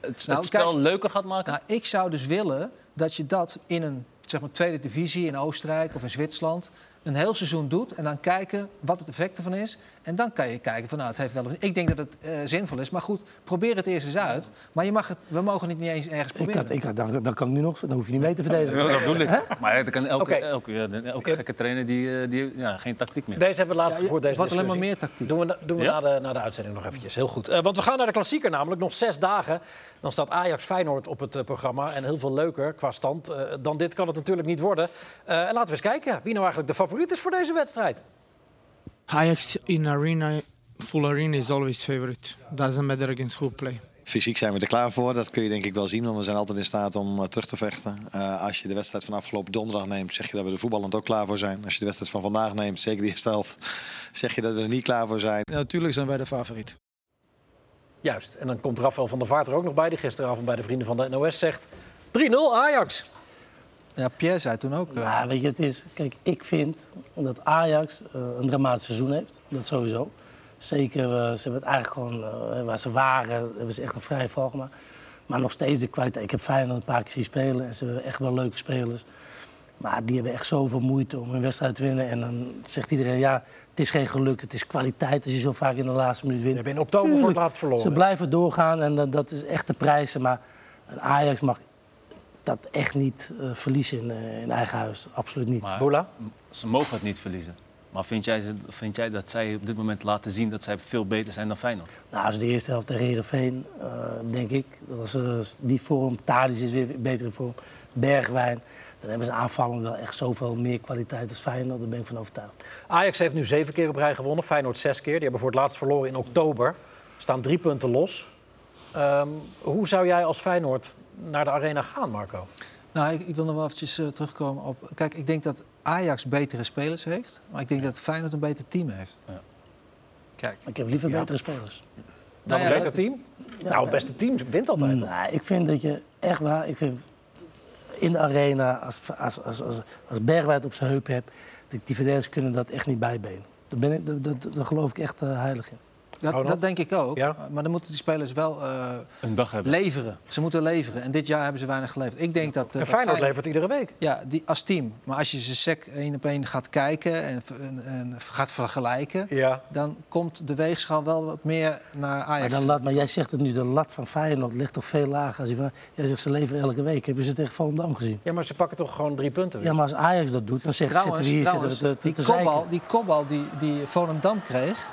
S3: het, het
S2: Nou,
S3: spel
S2: kijk-
S3: leuker gaat maken?
S2: Nou, ik zou dus willen dat je dat in een zeg maar, tweede divisie in Oostenrijk of in Zwitserland een heel seizoen doet en dan kijken wat het effect ervan is. En dan kan je kijken van nou, het heeft wel of niet. Ik denk dat het eh, zinvol is. Maar goed, probeer het eerst eens uit. Maar je mag het, we mogen het niet eens ergens
S5: Ik
S2: proberen.
S5: had, ik had, dan, dan kan ik nu nog, dan hoef je niet mee te verdedigen.
S3: Ja, dat bedoel ik. Maar ja, dan kan elke,
S1: Oké.
S3: elke, ja, dan- elke gekke trainer die, eh, die ja, geen tactiek meer.
S1: Deze hebben we laatst gevoerd. Deze
S2: Wat alleen maar
S1: discussie.
S2: meer tactiek.
S1: Doen we, na- doen we
S3: Ja?
S1: na, de, na de uitzending nog eventjes. Heel goed. Eh, want we gaan naar de klassieker namelijk. Nog zes dagen. Dan staat Ajax Feyenoord op het eh, programma. En heel veel leuker qua stand. eh, dan dit kan het natuurlijk niet worden. Eh, en laten we eens kijken wie nou eigenlijk de favoriet is voor deze wedstrijd.
S7: Ajax in arena, full arena is always favorite. Doesn't matter against who play.
S8: Fysiek zijn we er klaar voor, dat kun je denk ik wel zien, want we zijn altijd in staat om eh, terug te vechten. Eh, als je de wedstrijd van afgelopen donderdag neemt, zeg je dat we er voetballend ook klaar voor zijn. Als je de wedstrijd van vandaag neemt, zeker de eerste helft, zeg je dat we er niet klaar voor zijn.
S2: Natuurlijk zijn wij de favoriet.
S1: Juist. En dan komt Rafael van der Vaart er ook nog bij. Die gisteravond bij de vrienden van de NOS zegt... 3-0 Ajax.
S2: Ja, Pierre zei toen ook. eh,
S5: Ja, weet je, het is. Kijk, ik vind dat Ajax eh, een dramatisch seizoen heeft. Dat sowieso. Zeker, eh, ze hebben het eigenlijk gewoon eh, waar ze waren, hebben ze echt een vrije val gemaakt. Maar nog steeds de kwaliteit. Ik heb Feyenoord een paar keer zien spelen en ze hebben echt wel leuke spelers. Maar die hebben echt zoveel moeite om een wedstrijd te winnen. En dan zegt iedereen, ja, het is geen geluk, het is kwaliteit als je zo vaak in de laatste minuut
S1: We
S5: wint.
S1: hebben in oktober voor het laatst
S5: Ze
S1: verloren.
S5: blijven doorgaan en dat, dat is echt de prijzen. Maar Ajax mag dat echt niet eh, verliezen in, eh, in eigen huis. Absoluut niet.
S3: Maar
S1: Boela?
S3: ze mogen het niet verliezen. Maar vind jij, ze- vind jij dat zij op dit moment laten zien dat zij veel beter zijn dan Feyenoord?
S5: Nou, als de eerste helft tegen Herenveen, denk ik, dat als ze die vorm, Thadis is weer beter in vorm, Bergwijn, dan hebben ze aanvallend wel echt zoveel meer kwaliteit als Feyenoord. Daar ben ik van overtuigd.
S1: Ajax heeft nu zeven keer op rij gewonnen. Feyenoord zes keer. Die hebben voor het laatst verloren in oktober. Staan drie punten los. Ehm, hoe zou jij als Feyenoord naar de arena gaan, Marco?
S2: Nou, ik, ik wil nog wel eventjes eh, terugkomen op... Kijk, ik denk dat Ajax betere spelers heeft. Maar ik denk dat Feyenoord een beter team heeft.
S3: Ja.
S2: Kijk.
S5: Ik heb liever betere spelers.
S1: Nou,
S2: ja,
S1: een beter
S2: dat is- Mm.
S1: team? nou, het beste team wint altijd.
S5: Nou, ik vind dat je echt waar, ik vind in de arena, als, als, als, als, als Bergwijn het op zijn heup hebt, die, die verdedigers kunnen dat echt niet bijbenen. Daar, ben ik, daar, daar- daar geloof ik echt eh, heilig in.
S2: Dat,
S1: Ronald?
S2: dat denk ik ook.
S1: Ja.
S2: Maar dan moeten die spelers wel eh,
S3: Een dag hebben.
S2: leveren. Ze moeten leveren. En dit jaar hebben ze weinig geleverd. Ik denk dat... eh,
S1: En
S2: dat
S1: Feyenoord levert iedere week.
S2: Ja, die, als team. Maar als je ze sec één op één gaat kijken en, en, en gaat vergelijken...
S1: Ja.
S2: dan komt de weegschaal wel wat meer naar
S5: Maar,
S2: Ajax.
S5: dan lat, maar jij zegt het nu, de lat van Feyenoord ligt toch veel lager. Als je van, jij zegt ze leveren elke week. Hebben ze tegen Volendam gezien?
S1: ja, maar ze pakken toch gewoon drie punten weer.
S5: Ja, maar als Ajax dat doet, dan zegt ze
S2: Trouwens,
S5: zitten we hier
S2: trouwens,
S5: zitten we te, te, te
S2: die, kopbal,
S5: zeiken.
S2: die kopbal die, die Volendam kreeg,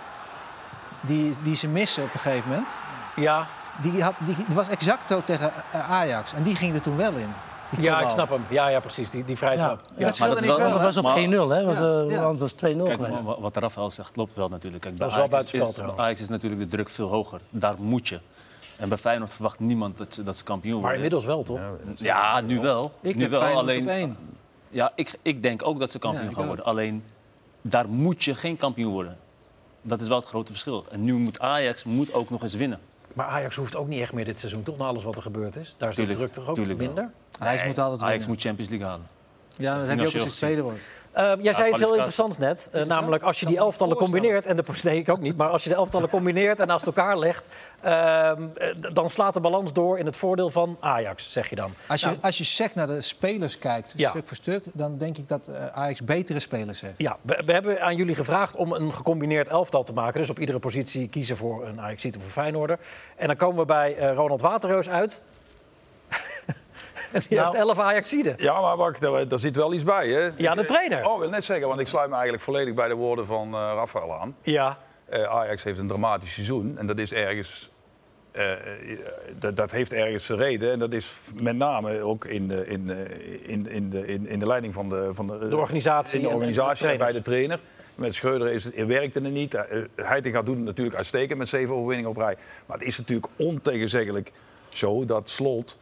S2: die, die ze missen op een gegeven moment...
S1: Ja,
S2: Die, had, die, die was exact zo tegen eh, Ajax. En die ging er toen wel in. Die
S1: ja ik
S2: kopbal.
S1: snap hem. Ja, ja precies. Die, die vrije
S5: Ja.
S1: trap.
S2: En dat
S3: maar
S2: scheelde
S3: dat is
S2: niet
S3: wel-
S2: veel,
S5: Dat
S2: hè?
S5: was op 1-0,
S3: Maar-
S5: hè? Was,
S2: Ja,
S5: eh,
S2: ja.
S5: anders was 2-0
S3: Kijk,
S5: geweest.
S3: wa- wat Rafael zegt klopt wel natuurlijk. Kijk, bij
S1: Dat is wel
S3: Ajax
S1: buitenspel
S3: is,
S1: trouwens.
S3: Ajax is natuurlijk de druk veel hoger. Daar moet je. En bij Feyenoord verwacht niemand dat ze, dat ze kampioen
S1: Maar
S3: worden.
S1: inmiddels wel, toch?
S3: Ja, nu wel.
S2: Ik
S3: nu
S2: heb
S3: wel.
S2: Feyenoord
S3: Alleen,
S2: op één.
S3: Ja, ik, ik denk ook dat ze kampioen
S2: Ja, ik
S3: gaan
S2: ook.
S3: worden. Alleen, daar moet je geen kampioen worden. Dat is wel het grote verschil. En nu moet Ajax moet ook nog eens winnen.
S1: Maar Ajax hoeft ook niet echt meer dit seizoen, toch? Na alles wat er gebeurd is. Daar is
S3: Tuurlijk,
S1: de druk toch ook
S3: tuurlijk wel.
S1: minder?
S2: Ajax moet altijd
S3: Ajax
S2: winnen.
S3: moet Champions League halen.
S2: Ja, dat heb je ook als je
S3: financieel
S2: tweede wordt.
S1: Eh, jij zei iets heel
S3: kwalificatie.
S1: interessants net. eh, namelijk als je
S2: Kan
S1: die
S2: me niet
S1: elftallen
S2: voorstellen.
S1: combineert. En de, nee, ik ook niet. Maar als je de elftallen combineert en naast elkaar legt. ehm, eh, d- dan slaat de balans door in het voordeel van Ajax, zeg je dan.
S2: Als
S4: Nou.
S2: je, als je sec naar de spelers kijkt,
S1: Ja.
S2: stuk voor stuk, dan denk ik dat eh, Ajax betere spelers heeft.
S1: Ja, we, we hebben aan jullie gevraagd om een gecombineerd elftal te maken. Dus op iedere positie kiezen voor een ajax of een Feyenoorder. En dan komen we bij eh, Ronald Waterreus uit. en die heeft elf Ajaxiden.
S4: Ja, maar wacht, daar, daar zit wel iets bij, hè?
S1: Ja, de trainer.
S4: Oh, ik wil net zeggen, want ik sluit me eigenlijk volledig bij de woorden van eh Rafael aan.
S1: Ja,
S4: Eh, Ajax heeft een dramatisch seizoen en dat is ergens. eh, eh, dat, dat heeft ergens zijn reden. En dat is met name ook in de, in, eh, in, in de, in, in de leiding van de, van de,
S1: De organisatie
S4: In de
S1: en- en de
S4: organisatie en
S1: trainers.
S4: bij de trainer. Met Schreuder is het, werkte het niet. Eh, Heitinga doet het natuurlijk uitstekend met zeven overwinningen op rij. Maar het is natuurlijk ontegenzeggelijk zo dat slot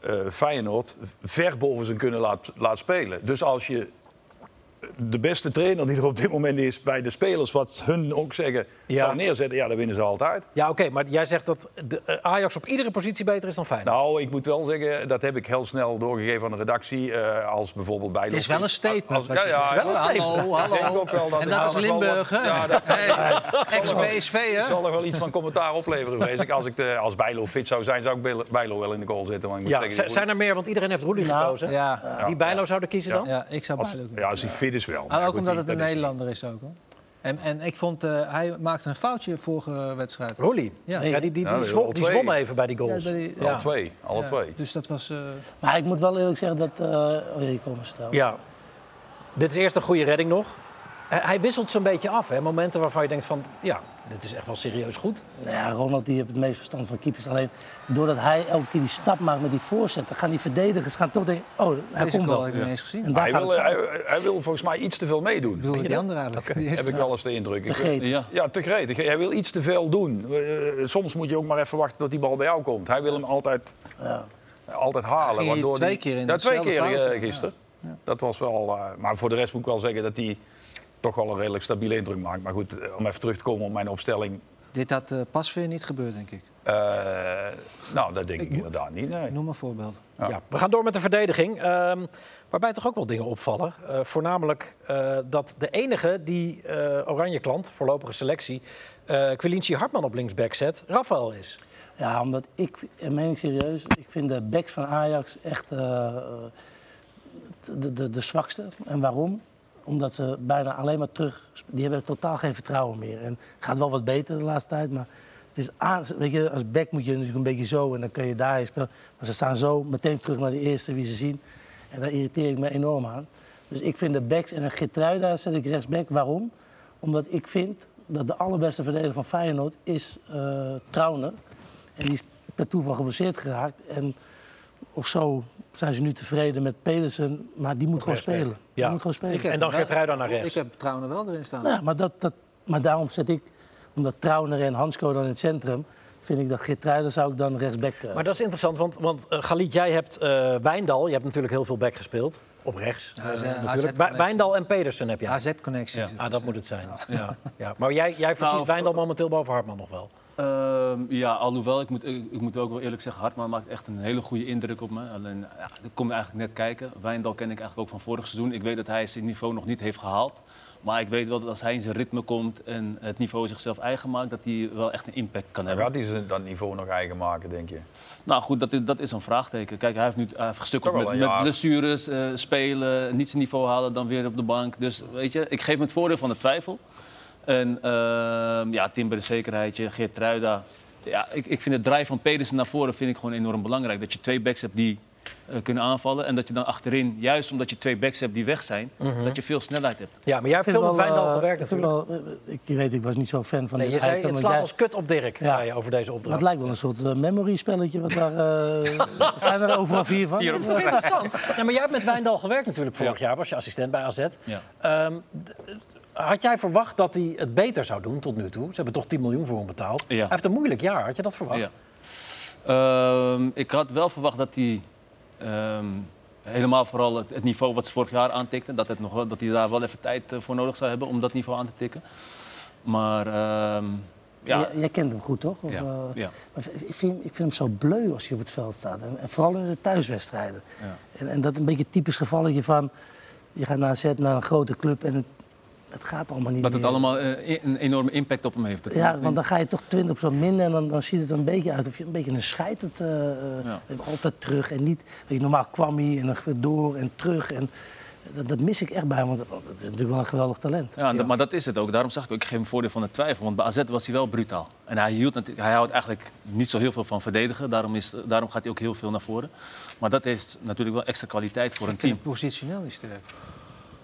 S4: eh, Feyenoord ver boven zijn kunnen laat, laat spelen. Dus als je de beste trainer die er op dit moment is bij de spelers, wat hun ook zeggen,
S1: Ja.
S4: zou neerzetten, ja, dan winnen ze altijd.
S1: ja oké. maar jij zegt dat de, eh, Ajax op iedere positie beter is dan Feyenoord.
S4: Nou, ik moet wel zeggen, dat heb ik heel snel doorgegeven aan de redactie. eh, als bijvoorbeeld bij.
S2: Het is wel een statement.
S4: Als-
S2: wat
S4: ja,
S2: je
S4: ja,
S2: zegt.
S4: ja,
S1: ja.
S2: Hallo,
S4: Ik denk
S2: hallo.
S4: ook wel dat
S2: en dat
S4: Ja,
S2: is
S4: maar wel
S2: Limburg,
S4: wat-
S2: hè?
S4: Ja, dat-
S2: Ex-PSV,
S4: Ik
S2: hè?
S4: zal er wel iets van commentaar opleveren, vrees ik. Als, ik de, als Bijlo fit zou zijn, zou ik Bijlo- Bijlo wel in de goal zetten. Want ik moet
S1: ja,
S4: zeggen,
S1: zi-
S4: die-
S1: zijn er meer? Want iedereen heeft Roelie
S5: Nou,
S1: gekozen.
S2: Ja,
S1: Die Bijlo zouden kiezen dan?
S2: ja ik zou
S4: als,
S2: bijna ook
S4: ja, als hij fit is wel.
S2: Maar
S4: Maar
S2: Ah, ook
S4: goed,
S2: omdat
S4: die-
S2: het een
S4: dat is-
S2: Nederlander is ook, hoor. En, en ik vond, eh, hij maakte een foutje vorige wedstrijd.
S1: Roelie. Ja,
S2: Ja.
S1: die, die, die,
S4: Nou,
S1: zwom,
S4: al
S1: die
S4: twee.
S1: zwom even bij die goals.
S2: Ja, bij die-
S4: Alle twee, alle
S2: Ja,
S4: twee.
S2: Dus dat was... eh,
S5: Maar ik moet wel eerlijk zeggen dat... eh, oh, hier komen ze trouwens.
S1: Ja. Dit is eerst een goede redding nog. Eh, hij wisselt zo'n beetje af. Hè? Momenten waarvan je denkt van, ja, dit is echt wel serieus goed.
S5: Nou Ja, Ronald die heeft het meest verstand van keepers. Alleen doordat hij elke keer die stap maakt met die voorzetten... gaan die verdedigers gaan toch denken... Oh, hij
S2: deze
S5: komt
S2: goal
S5: wel.
S2: heb ik niet eens gezien.
S5: En
S2: Ik
S5: daar
S4: Hij
S5: gaat
S4: wil,
S5: het
S4: hij,
S5: fout.
S4: hij wil volgens mij iets te veel meedoen.
S2: bedoel die andere eigenlijk. Die
S4: Heb
S2: eerste.
S4: ik wel eens de indruk.
S5: Te
S4: Ik-
S5: gretig.
S3: Ja.
S4: Ja, te gretig. Hij wil iets te veel doen. Eh, Soms moet je ook maar even wachten tot die bal bij jou komt. Hij wil hem altijd, altijd halen.
S2: Ging hij
S4: waardoor
S2: twee
S4: die-
S2: keer in
S4: Ja, twee
S2: dezelfde
S4: keer eh,
S2: fase.
S4: gisteren. Dat was wel... eh, maar voor de rest moet ik wel zeggen dat hij toch wel een redelijk stabiele indruk maakt. Maar goed, eh, om even terug te komen op mijn opstelling.
S2: Dit had eh, pas weer niet gebeurd, denk ik.
S4: eh, nou, dat denk ik inderdaad niet. Nee.
S2: Noem een voorbeeld.
S1: Ja. we gaan door met de verdediging. ehm, waarbij toch ook wel dingen opvallen. Eh, voornamelijk eh, dat de enige die eh, Oranje klant, voorlopige selectie, eh Quilinci Hartman op linksback zet, Rafael is.
S5: Ja, omdat ik, en meen ik serieus, ik vind de backs van Ajax echt eh, de, de, de zwakste. En waarom? Omdat ze bijna alleen maar terug, die hebben totaal geen vertrouwen meer. En het gaat wel wat beter de laatste tijd, maar het is aan, weet je, als back moet je natuurlijk een beetje zo en dan kun je daarin spelen. Maar ze staan zo meteen terug naar de eerste wie ze zien. En daar irriteer ik me enorm aan. Dus ik vind de backs en een Gertruida zet ik rechtsback. Waarom? Omdat ik vind dat de allerbeste verdediger van Feyenoord is eh Trauner. En die is per toeval geblesseerd geraakt. En of zo zijn ze nu tevreden met Pedersen. Maar die moet gewoon
S1: rechtsback.
S5: spelen.
S1: Ja.
S5: Die moet gewoon spelen.
S2: Ik eh, heb
S1: En dan
S2: hem wel-
S1: Geertruida naar rechts.
S2: Ik heb Trouwen wel erin staan.
S5: Ja, maar, dat, dat, maar daarom zet ik, omdat Trauner en Hansco dan in het centrum... vind ik dat Gertruiden zou ik dan rechtsback... eh,
S1: Maar dat is interessant, want, want eh, Galit, jij hebt eh, Wijndal. Je hebt natuurlijk heel veel back gespeeld. Op rechts.
S2: Ja, dat is,
S1: eh,
S2: eh,
S1: natuurlijk.
S2: AZ-connectie.
S1: Wij- Wijndal en Pedersen heb je.
S2: AZ-connectie.
S3: Ja.
S2: Dit
S1: Ah,
S2: is,
S1: dat
S2: eh,
S1: moet het zijn. Ja. Ja. Maar jij, jij verkiest
S3: Nou,
S5: eh,
S1: Wijndal momenteel boven Hartman nog wel.
S3: Ehm, ja, alhoewel, ik moet, ik, ik moet ook wel eerlijk zeggen, Hartman maakt echt een hele goede indruk op me. Alleen, ja, ik kom eigenlijk net kijken. Wijndal ken ik eigenlijk ook van vorig seizoen. Ik weet dat hij zijn niveau nog niet heeft gehaald. Maar ik weet wel dat als hij in zijn ritme komt en het niveau zichzelf eigen maakt, dat hij wel echt een impact kan hebben.
S4: Gaat hij ze dat niveau nog eigen maken, denk je?
S3: Nou goed, dat is, dat is een vraagteken. Kijk, hij heeft nu hij heeft gestukkeld
S4: Toch
S3: met,
S4: wel een
S3: met
S4: jaar.
S3: blessures, eh, spelen, niet zijn niveau halen, dan weer op de bank. Dus weet je, ik geef hem het voordeel van de twijfel. En ehm ja, Timber is zekerheidje, Geert Truida. Ja, ik, ik vind het draai van Pedersen naar voren vind ik gewoon enorm belangrijk. Dat je twee backs hebt die eh, kunnen aanvallen. En dat je dan achterin, juist omdat je twee backs hebt die weg zijn,
S4: Mhm.
S3: dat je veel snelheid hebt.
S1: Ja, maar jij hebt
S5: vind
S1: veel met
S5: wel,
S1: Wijndal
S5: eh,
S1: gewerkt
S5: ik vind
S1: natuurlijk.
S5: wel, eh, ik, je weet, ik was niet zo fan van
S1: Nee, je
S5: dit
S1: zei, het
S5: item, want
S1: slaat
S5: jij-
S1: als kut op Dirk,
S5: Ja.
S1: zei je over deze
S5: Maar
S1: opdracht.
S5: het lijkt wel een soort eh, memory-spelletje. Wat daar, eh, zijn er overal vier van?
S1: Dat is toch interessant? Ja, maar jij hebt met Wijndal gewerkt natuurlijk vorig jaar, was je assistent bij AZ.
S3: Ja.
S1: Ehm, d- had jij verwacht dat hij het beter zou doen tot nu toe? Ze hebben toch 10 miljoen voor hem betaald.
S3: Ja.
S1: Hij heeft een moeilijk jaar, had je dat verwacht?
S3: Ja. Ehm, ik had wel verwacht dat hij ehm, helemaal vooral het, het niveau wat ze vorig jaar aantikte, dat, het nog wel, dat hij daar wel even tijd eh, voor nodig zou hebben om dat niveau aan te tikken. Maar ehm, ja,
S5: J- jij kent hem goed, toch? Of,
S3: ja,
S5: eh,
S3: ja.
S5: maar v- ik, vind, ik vind hem zo bleu als hij op het veld staat. En, en vooral in de thuiswedstrijden.
S3: Ja.
S5: En, en dat is een beetje een typisch gevalletje van... je gaat naar zet naar een grote club en het, het gaat allemaal niet
S3: dat het
S5: meer.
S3: allemaal eh, i- een enorme impact op hem heeft. Dat-
S5: Ja, want dan ga je toch 20% minder en dan, dan ziet het er een beetje uit of je een beetje een scheitert. eh eh,
S3: Ja.
S5: Altijd terug en niet. Weet je, normaal kwam hij en dan weer door en terug. En dat, dat mis ik echt bij hem, want want het is natuurlijk wel een geweldig talent.
S3: Ja, dat- maar dat is het ook. Daarom zeg ik ook, ik geef hem voordeel van de twijfel. Want bij AZ was hij wel brutaal. En hij, hield, natu- hij houdt eigenlijk niet zo heel veel van verdedigen. Daarom, is, daarom gaat hij ook heel veel naar voren. Maar dat heeft natuurlijk wel extra kwaliteit voor een team.
S2: Positioneel niet sterk.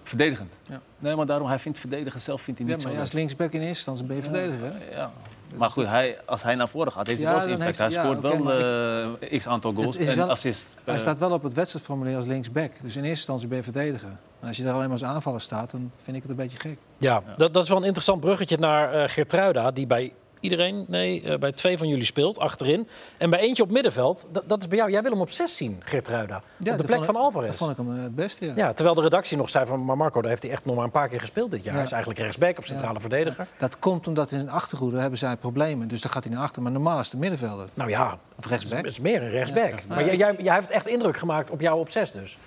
S3: Verdedigend.
S2: Ja.
S3: Nee, maar daarom, hij vindt verdedigen zelf vindt hij
S2: Ja,
S3: niet
S2: maar
S3: zo
S2: ja,
S3: leuk.
S2: als linksback in eerste instantie ben je verdediger. Hè?
S3: Ja. Maar goed, hij, als hij naar voren gaat, heeft hij
S2: Ja,
S3: wel zijn
S2: dan
S3: impact. Hij
S2: heeft hij-
S3: scoort
S2: ja, oké,
S3: wel eh, x aantal goals
S2: Het is
S3: en
S2: wel-
S3: assist.
S2: Hij
S3: Eh,
S2: staat wel op het wedstrijdformulier als linksback. Dus in eerste instantie ben je verdediger. En als je daar alleen maar als aanvaller staat, dan vind ik het een beetje gek.
S1: Ja, Dat, dat is wel een interessant bruggetje naar eh Geertruida, die bij iedereen, nee, eh, bij twee van jullie speelt, achterin. En bij eentje op middenveld, dat, dat is bij jou. Jij wil hem op zes zien, Geertruida. op de
S2: dat
S1: plek
S2: vond ik-
S1: van Alvarez.
S2: Dat vond ik hem eh, het beste, ja.
S1: Ja, terwijl de redactie nog zei van, maar Marco, daar heeft hij echt nog maar een paar keer gespeeld dit jaar.
S2: Ja.
S1: Hij is eigenlijk rechtsback of centrale verdediger.
S2: Dat komt omdat in de achterhoede hebben zij problemen. Dus dan gaat hij naar achter. Maar normaal is het middenvelder.
S1: Nou ja,
S2: Of
S1: het
S2: rechtsback.
S1: is meer een rechtsback. Maar jij, jij, jij heeft echt indruk gemaakt op jou op zes dus.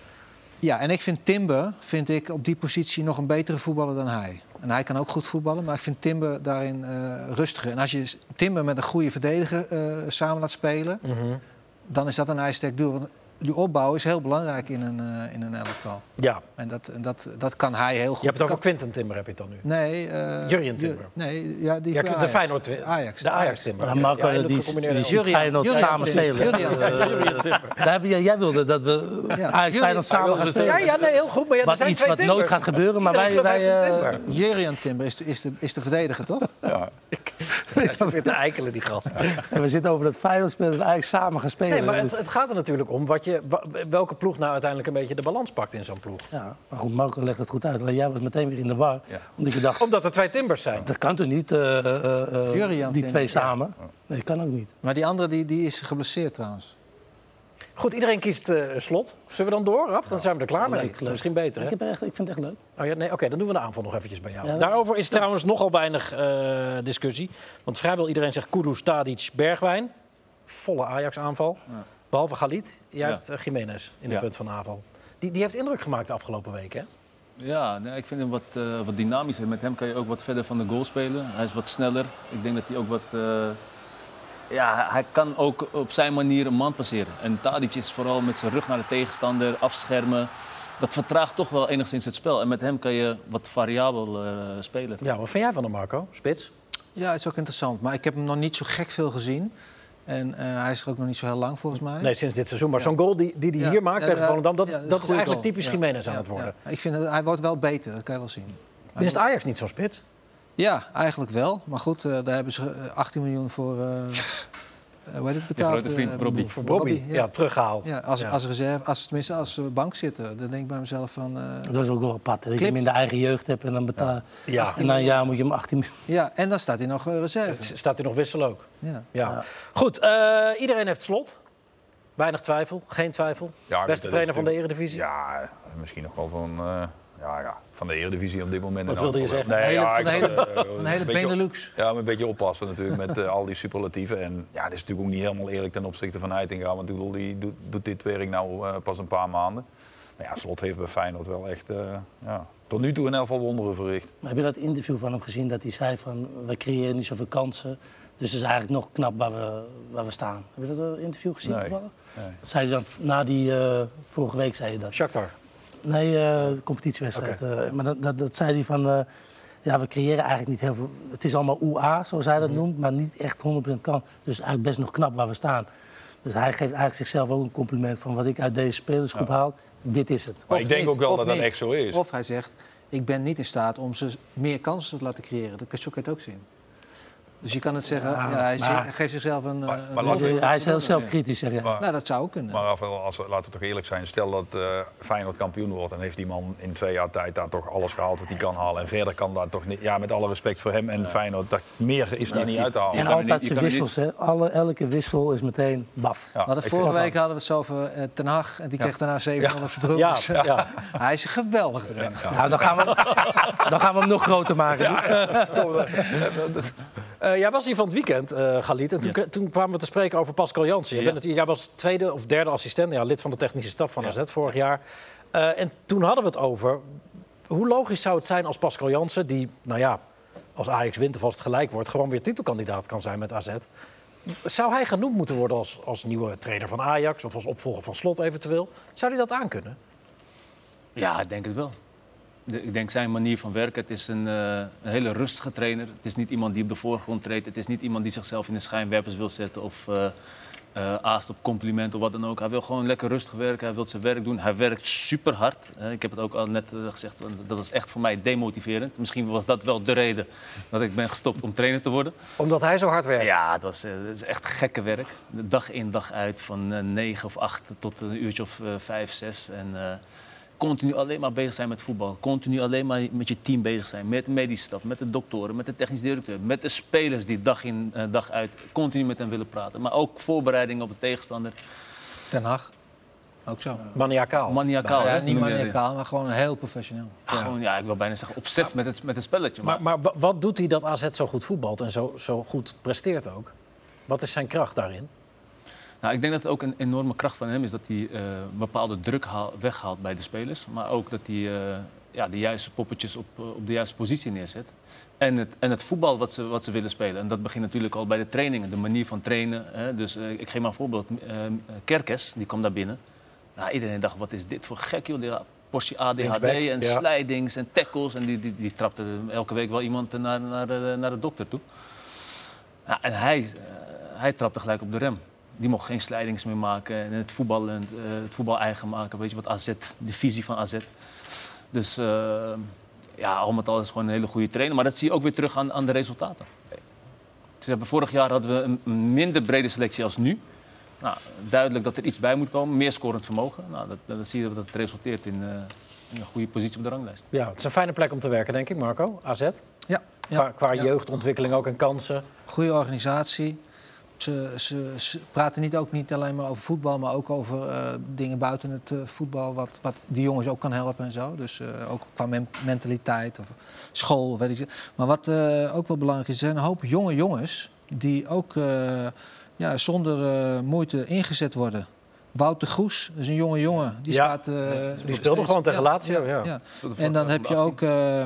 S2: Ja, en ik vind Timber vind ik op die positie nog een betere voetballer dan hij. En hij kan ook goed voetballen, maar ik vind Timber daarin eh, rustiger. En als je
S1: Mhm.
S2: s- Timber met een goede verdediger eh, samen laat spelen, dan is dat een ijsterk duel. Want die opbouw is heel belangrijk in een, eh, in een elftal.
S1: Ja.
S2: En dat, en dat, dat kan hij heel goed.
S1: Je hebt het
S2: Dat
S1: over Quinten Timber, heb je het dan nu.
S2: kan- Nee. eh,
S1: Jurjen
S2: Ju-
S1: Timber.
S2: Nee, ja, die
S1: Ja,
S2: van
S1: de
S2: Ajax.
S1: Feyenoord. eh,
S2: Ajax.
S1: De Ajax Timber.
S5: Maar
S1: Ja,
S5: Marco,
S1: ja, in het
S5: die,
S1: gecombineerde
S5: die
S1: elftal.
S5: ziet Feyenoord
S2: Jurian
S5: samen
S2: Timber.
S5: spelen.
S2: Jurian.
S5: Eh, daar heb je, jij wilde dat we
S2: Ja.
S5: Ajax Feyenoord
S4: Hij
S5: samen
S4: wilde
S5: gaan
S4: het
S5: spelen.
S1: Ja, ja, nee, heel goed. Maar ja, er
S5: Wat
S1: zijn
S5: iets
S1: twee
S5: wat nooit
S1: Timbers.
S5: gaat gebeuren, maar
S1: Iedere
S5: wij...
S1: club heeft een
S5: wij eh,
S1: Timber.
S2: Jurian Timber is de, is, de, is de verdediger, toch?
S1: Hij zit weer te eikelen, die gast.
S5: we zitten over dat Feyenoord spelen dat Ajax samen gaan spelen.
S1: Nee, maar het, het gaat er natuurlijk om wat je, wa- welke ploeg nou uiteindelijk een beetje de balans pakt in zo'n ploeg.
S5: ja, maar goed, Marco legt het goed uit. Alleen jij was meteen weer in de war.
S4: Ja.
S5: Omdat je dacht,
S1: Omdat er twee Timbers zijn.
S5: dat kan toch niet, eh, eh, eh,
S2: Jurian
S5: die
S2: Timber,
S5: twee
S2: ja.
S5: samen? Nee, dat kan ook niet.
S2: Maar die andere die, die is geblesseerd trouwens.
S1: Goed, iedereen kiest eh, slot. Zullen we dan door, Raf? Dan zijn we er klaar mee.
S5: leuk, leuk.
S1: Misschien beter, hè?
S5: Ik, heb echt, ik vind het echt leuk.
S1: Oh ja, nee, oké, dan doen we de aanval nog eventjes bij jou.
S5: Ja.
S1: Daarover is trouwens nogal weinig eh, discussie. Want vrijwel iedereen zegt Kudus, Tadic, Bergwijn. Volle Ajax-aanval. Behalve Galit. Jij
S3: Ja.
S1: hebt eh, Jiménez in de
S3: Ja.
S1: punt van de aanval. Die, die heeft indruk gemaakt de afgelopen weken, hè?
S3: Ja, nee, ik vind hem wat, eh, wat dynamischer. Met hem kan je ook wat verder van de goal spelen. Hij is wat sneller. Ik denk dat hij ook wat... eh, ja, hij- hij kan ook op zijn manier een man passeren. En Tadic is vooral met zijn rug naar de tegenstander, afschermen. Dat vertraagt toch wel enigszins het spel. En met hem kan je wat variabel eh, spelen.
S1: Ja, wat vind jij van hem, Marco? Spits?
S2: Ja, is ook interessant. Maar ik heb hem nog niet zo gek veel gezien. En eh, hij is er ook nog niet zo heel lang volgens mij.
S1: Nee, sinds dit seizoen. Maar zo'n goal die die, die
S2: Ja.
S1: hier maakt
S2: Ja,
S1: tegen
S2: ja,
S1: Volendam... dat,
S2: ja,
S1: is-
S2: een
S1: dat is
S2: goede
S1: eigenlijk
S2: goal.
S1: typisch
S2: Ja,
S1: Jiménez aan
S2: ja,
S1: het worden.
S2: ja. Ik vind dat hij wordt wel beter, dat kan je wel zien. Hij
S1: Minst
S2: wordt-
S1: Ajax niet zo'n spits.
S2: Ja, eigenlijk wel. Maar goed, eh, daar hebben ze eh, 18 miljoen voor. eh eh, hoe heet het betaald?
S3: grote vriend,
S2: Eh,
S3: Robbie.
S1: Voor Bobby.
S2: Robbie,
S1: ja.
S2: ja.
S1: teruggehaald.
S2: Ja, als,
S1: Ja.
S2: als reserve, als, tenminste als ze bank zitten, dan denk ik bij mezelf van... eh,
S5: Dat is ook wel apart. hè, Dat je
S2: Clip.
S5: hem in de eigen jeugd hebt en dan betaal
S1: Ja.
S5: ja. En na een jaar moet je hem 18 miljoen.
S2: ja, en dan staat hij nog eh, reserve.
S1: Staat hij nog wissel ook?
S2: Ja.
S1: Ja. Goed, eh, iedereen heeft slot. Weinig twijfel, geen twijfel.
S4: Ja, goed, dat
S1: Beste
S4: is
S1: trainer van de
S4: natuurlijk-
S1: Eredivisie.
S4: Ja, misschien nog wel van, eh, ja, ja, van de Eredivisie op dit moment.
S1: Wat
S4: in
S1: wilde je
S4: elk geval.
S1: zeggen?
S4: Nee,
S2: Hele-
S4: ja,
S2: van de
S4: ik-
S2: hele-
S4: eh,
S2: Een hele
S4: beetje-
S2: Benelux.
S4: Ja, maar een beetje oppassen natuurlijk met eh, al die superlatieven. En ja, dat is natuurlijk ook niet helemaal eerlijk ten opzichte van Heitinga. Want ik bedoel, die doet, doet dit werk nou eh, pas een paar maanden. Maar ja, Slot heeft bij Feyenoord wel echt eh, ja, tot nu toe in elk geval wonderen verricht.
S5: Maar heb je dat interview van hem gezien dat hij zei van we creëren niet zoveel kansen. Dus het is eigenlijk nog knap waar we, waar we staan. Heb je dat eh, interview gezien
S4: Nee,
S5: toevallig?
S4: nee.
S5: Dat Zei hij dan na die eh, vorige week zei je dat?
S1: Shakhtar.
S5: Nee, eh, de competitiewedstrijd. Eh, maar dat, dat, dat zei hij van. eh, ja, we creëren eigenlijk niet heel veel. Het is allemaal OEA, zoals hij
S4: Mhm.
S5: dat noemt, maar niet echt 100% kan. Dus eigenlijk best nog knap waar we staan. Dus hij geeft eigenlijk zichzelf ook een compliment van wat ik uit deze spelersgroep haal. Dit is het.
S4: Maar
S2: Of
S4: ik denk
S2: niet,
S4: ook wel
S2: of
S4: dat dat
S2: niet.
S4: echt zo is.
S2: Of hij zegt, ik ben niet in staat om ze meer kansen te laten creëren. Dat kan zo kan je het ook zien. Dus je kan het zeggen, ja, hij
S5: maar-
S2: zi- geeft zichzelf een... eh, een-
S4: maar
S5: Dus,
S4: laten
S5: eh, hij is heel zelfkritisch, zeg je.
S4: Maar-
S2: nou, dat zou ook kunnen.
S4: Maar Rafael, als, we- laten we toch eerlijk zijn. Stel dat eh, Feyenoord kampioen wordt. Dan heeft die man in twee jaar tijd daar toch alles gehaald wat hij kan halen. En verder kan daar toch niet... Ja, met alle respect voor hem en Feyenoord. Dat, meer is daar niet uit te halen.
S5: en
S3: kan het
S5: altijd
S3: niet- je
S5: zijn
S3: kan het
S5: wissels, hè? Alle, elke wissel is meteen baf.
S4: Ja,
S2: We hadden
S4: ik
S2: vorige
S4: vind-
S2: week hadden we het zo over eh, Ten Hag. En die kreeg daarna 7 op zijn broek.
S1: Ja,
S2: Dus,
S1: ja.
S2: Hij is geweldig erin.
S5: Nou, dan gaan, we, dan gaan we hem nog groter maken.
S1: Eh, jij was hier van het weekend, eh Galit. En toen, toen kwamen we te spreken over Pascal Jansen. Jij,
S3: Ja.
S1: bent het- jij was tweede of derde assistent, ja, lid van de technische staf van AZ vorig jaar. Eh, en toen hadden we het over... Hoe logisch zou het zijn als Pascal Jansen, die, nou ja, als Ajax wint of als het gelijk wordt... gewoon weer titelkandidaat kan zijn met AZ. Zou hij genoemd moeten worden als, als nieuwe trainer van Ajax... of als opvolger van Slot eventueel? Zou hij dat aankunnen?
S3: Ja, ik denk het wel. De- Ik denk zijn manier van werken. Het is een, eh, een hele rustige trainer. Het is niet iemand die op de voorgrond treedt. Het is niet iemand die zichzelf in de schijnwerpers wil zetten of eh eh, aast op complimenten of wat dan ook. Hij wil gewoon lekker rustig werken. Hij wil zijn werk doen. Hij werkt super hard. ik heb het ook al net eh, gezegd. want Dat is echt voor mij demotiverend. Misschien was dat wel de reden dat ik ben gestopt om trainer te worden.
S1: Omdat hij zo hard werkt.
S3: Ja, het, was, eh, het is echt gekke werk. Dag in, dag uit, van eh, negen of acht tot een uurtje of eh, vijf, zes. En eh, continu alleen maar bezig zijn met voetbal. Continu alleen maar met je team bezig zijn. Met de medische staf, met de doktoren, met de technisch directeur. Met de spelers die dag in, eh, dag uit continu met hen willen praten. Maar ook voorbereiding op de tegenstander.
S2: Ten Hag. Ook zo.
S1: Maniacaal.
S3: Maniacaal,
S2: ja,
S3: hè?
S2: niet maniacaal, maar gewoon heel professioneel.
S3: Gewoon, ja, ik wil bijna zeggen opzet met het, met het spelletje. Maar,
S1: Maar, maar wa- wat doet hij dat AZ zo goed voetbalt en zo, zo goed presteert ook? Wat is zijn kracht daarin?
S3: Nou, ik denk dat het ook een enorme kracht van hem is dat hij eh, bepaalde druk haal- weghaalt bij de spelers. Maar ook dat hij eh, ja, de juiste poppetjes op, eh, op de juiste positie neerzet. En het, en het voetbal wat ze, wat ze willen spelen. En dat begint natuurlijk al bij de trainingen, de manier van trainen. Hè. Dus eh, ik geef maar een voorbeeld. Eh, Kerkes, eh, die kwam daar binnen. Nou, iedereen dacht, wat is dit voor gek, joh. Die portie ADHD
S6: Linksback,
S3: en
S6: ja.
S3: slijdings en tackles. En die, die, die trapte elke week wel iemand naar, naar, de- naar de dokter toe. Ja, en hij, eh, hij trapte gelijk op de rem. Die mocht geen slijdings meer maken en het voetbal, en, eh, het voetbal eigen maken. Weet je wat AZ, de visie van AZ. Dus eh, ja, al met al is het gewoon een hele goede trainer. Maar dat zie je ook weer terug aan, aan de resultaten. Ze hebben, vorig jaar hadden we een- een minder brede selectie als nu. Nou, duidelijk dat er iets bij moet komen, meer scorend vermogen. Nou, dat, dat, dat zie je dat het resulteert in, eh, in een goede positie op de ranglijst.
S1: Ja, het is een fijne plek om te werken, denk ik, Marco. AZ.
S2: Ja, ja.
S1: Qua, qua
S2: Ja.
S1: jeugdontwikkeling ook en kansen.
S2: Goede organisatie. Ze, ze, ze praten niet, ook niet alleen maar over voetbal, maar ook over eh, dingen buiten het eh, voetbal. Wat, wat die jongens ook kan helpen en zo. Dus eh, ook qua men- mentaliteit of school. of Weet ik. het. Maar wat eh, ook wel belangrijk is, er zijn een hoop jonge jongens die ook eh, ja, zonder eh, moeite ingezet worden. Wouter Goes, dat is een jonge jongen. Die,
S1: Ja,
S2: staat, eh, nog
S1: speelde
S2: steeds-
S1: gewoon tegen Lazio, ja.
S2: En dan heb je ook eh,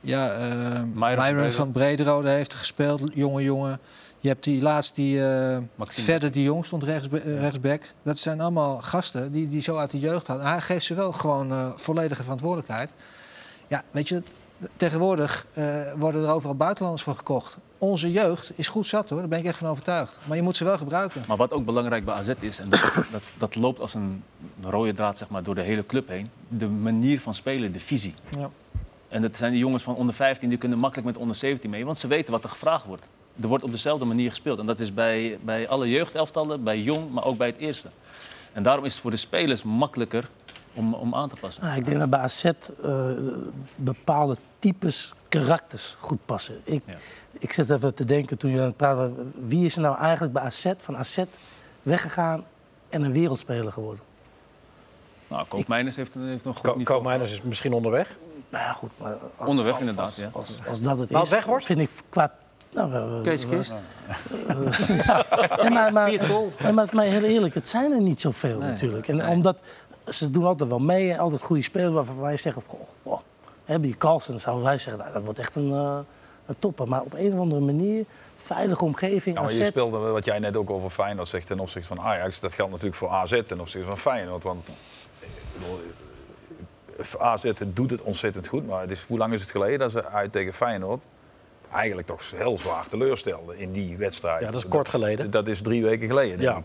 S2: ja, eh
S3: Myron van
S2: Myron van Brederode heeft gespeeld, jonge jongen. Je hebt die laatst die eh
S3: Maxime.
S2: verder die jong stond rechts, rechtsback. Dat zijn allemaal gasten die, die zo uit de jeugd hadden. Hij geeft ze wel gewoon eh, volledige verantwoordelijkheid. Ja, weet je, tegenwoordig eh, worden er overal buitenlanders voor gekocht. Onze jeugd is goed zat hoor, daar ben ik echt van overtuigd. Maar je moet ze wel gebruiken.
S3: Maar wat ook belangrijk bij AZ is, en dat, is- dat, dat loopt als een rode draad zeg maar, door de hele club heen, de manier van spelen, de visie.
S2: Ja.
S3: En dat zijn die jongens van onder 15, die kunnen makkelijk met onder 17 mee, want ze weten wat er gevraagd wordt. Er wordt op dezelfde manier gespeeld. En dat is bij, bij alle jeugdelftallen, bij jong, maar ook bij het eerste. En daarom is het voor de spelers makkelijker om, om aan te passen.
S5: Ah, ik denk dat bij AZ eh, bepaalde types karakters goed passen. Ik,
S3: Ja.
S5: ik zit even te denken toen je aan het praten was, Wie is er nou eigenlijk bij AZ, van AZ weggegaan en een wereldspeler geworden?
S3: Nou, Koopmeiners heeft, een- heeft een goed
S1: Ko-
S3: niveau.
S1: Koopmeiners is misschien onderweg.
S5: Nou ja, goed. Maar als,
S3: Onderweg
S5: als-
S3: inderdaad,
S5: als,
S3: ja.
S5: Als, als dat het
S1: Maar
S5: is,
S1: weg wordt?
S5: vind ik qua... Nou, we- we-
S2: Kees
S5: we-
S2: Kist.
S5: Nee, maar, maar, nee, maar, maar heel eerlijk, het zijn er niet zoveel natuurlijk. En omdat ze doen altijd wel mee, en altijd goede spelers waarvan wij zeggen, goh, goh, hebben die Carlsen, dan zouden wij zeggen, nou, dat wordt echt een, eh, een topper. Maar op een of andere manier, veilige omgeving,
S4: Nou, maar je
S5: AZ,
S4: speelde wat jij net ook over Feyenoord zegt ten opzichte van Ajax. Dat geldt natuurlijk voor AZ ten opzichte van Feyenoord. Want eh, ik bedoel, eh, AZ het doet het ontzettend goed. Maar het is, hoe lang is het geleden dat ze uit tegen Feyenoord eigenlijk toch heel zwaar teleurstelden in die wedstrijd?
S1: Ja, dat is kort geleden.
S4: Dat is drie weken geleden, denk
S1: Ja.
S4: ik.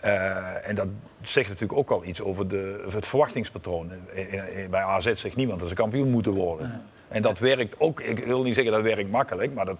S4: Eh, en dat zegt natuurlijk ook al iets over de, over het verwachtingspatroon. In- in- in- Bij AZ zegt niemand dat ze kampioen moeten worden. En dat werkt ook, ik wil niet zeggen dat werkt makkelijk, maar dat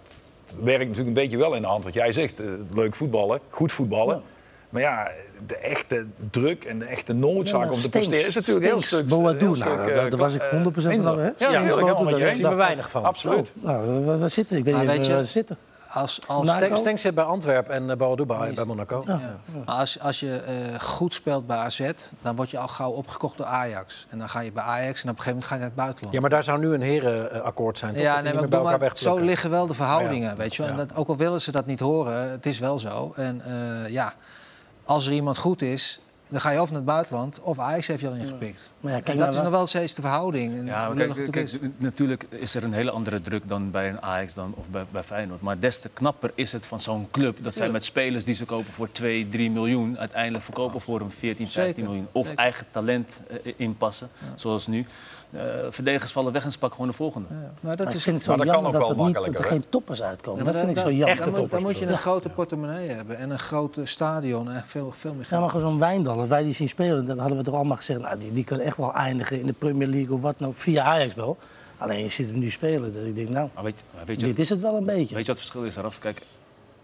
S4: werkt natuurlijk een beetje wel in de hand. Wat jij zegt, eh, leuk voetballen, goed voetballen. Maar ja, de echte druk en de echte noodzaak
S5: Ja,
S4: om te
S5: stinks.
S4: presteren is natuurlijk heel
S5: Stinks,
S4: stuk.
S5: Boadu,
S4: heel
S5: nou,
S4: stuk, eh,
S5: daar- daar was ik
S4: eh,
S5: 100%
S4: minder.
S5: van, hè?
S4: Ja,
S5: Stinks,
S4: natuurlijk,
S5: Boadu,
S4: helemaal met je
S5: daar
S4: eens.
S1: zien we weinig van.
S4: Absoluut.
S5: nou, waar- waar, waar zitten ze? Ik weet
S2: Maar
S5: niet eens
S2: weet
S5: waar
S2: je-
S5: ze zitten.
S2: Als, als,
S5: Nou,
S1: Stenks Stenks zit bij Antwerpen en eh, Boadu bij, bij Monaco.
S2: Maar als, als je eh, goed speelt bij AZ, dan word je al gauw opgekocht door Ajax. En dan ga je bij Ajax en op een gegeven moment ga je naar het buitenland.
S1: Ja, maar daar zou nu een herenakkoord zijn. Toch?
S2: Ja,
S1: Dat die
S2: nee,
S1: niet meer
S2: maar, ik
S1: bij elkaar
S2: bedoel, maar zo
S1: wegplukken.
S2: liggen wel de verhoudingen, weet je wel. En
S1: Ja.
S2: dat, ook al willen ze dat niet horen, het is wel zo. En eh, ja, als er iemand goed is, dan ga je of naar het buitenland... of Ajax heeft je al ingepikt.
S5: Maar ja, kijk
S2: en
S5: nou
S2: dat is
S5: wel-
S2: nog wel steeds de verhouding. En
S3: Ja, maar
S2: hoe lullig
S3: kijk,
S2: het
S3: kijk,
S2: is.
S3: n- natuurlijk is er een hele andere druk dan bij een Ajax dan, of bij, bij Feyenoord. Maar des te knapper is het van zo'n club. Dat zij met spelers die ze kopen voor 2, 3 miljoen... uiteindelijk verkopen voor een 14, 15
S2: Zeker,
S3: miljoen. Of
S2: zeker.
S3: eigen talent eh, inpassen, zoals nu. Eh, verdedigers vallen weg en ze pakken gewoon de volgende.
S2: Ja, nou, dat
S5: Maar ik
S2: is...
S5: vind het zo
S4: Maar dat kan
S5: jammer
S4: ook
S5: dat,
S4: wel
S5: het niet, dat er
S4: makkelijker, hè?
S5: geen toppers uitkomen.
S2: Ja, maar
S5: dat vind ik
S2: dan-
S5: zo
S2: dan-
S5: jammer.
S1: Echte
S2: dan, moet- dan
S1: toppers
S2: moet je
S1: bedoel ik.
S2: een grote portemonnee hebben en een groot eh, stadion en veel, veel meer
S5: Ja,
S2: geld.
S5: maar gewoon zo'n Wijndal, wij die zien spelen, dan hadden we toch allemaal gezegd... Nou, die, die kan echt wel eindigen in de Premier League of wat nou, via Ajax wel. Alleen je ziet hem nu spelen, dat ik denk, nou,
S3: Maar weet, je- maar weet, je,
S5: dit is het wel een beetje.
S3: weet je wat het verschil is, Raf? Kijk,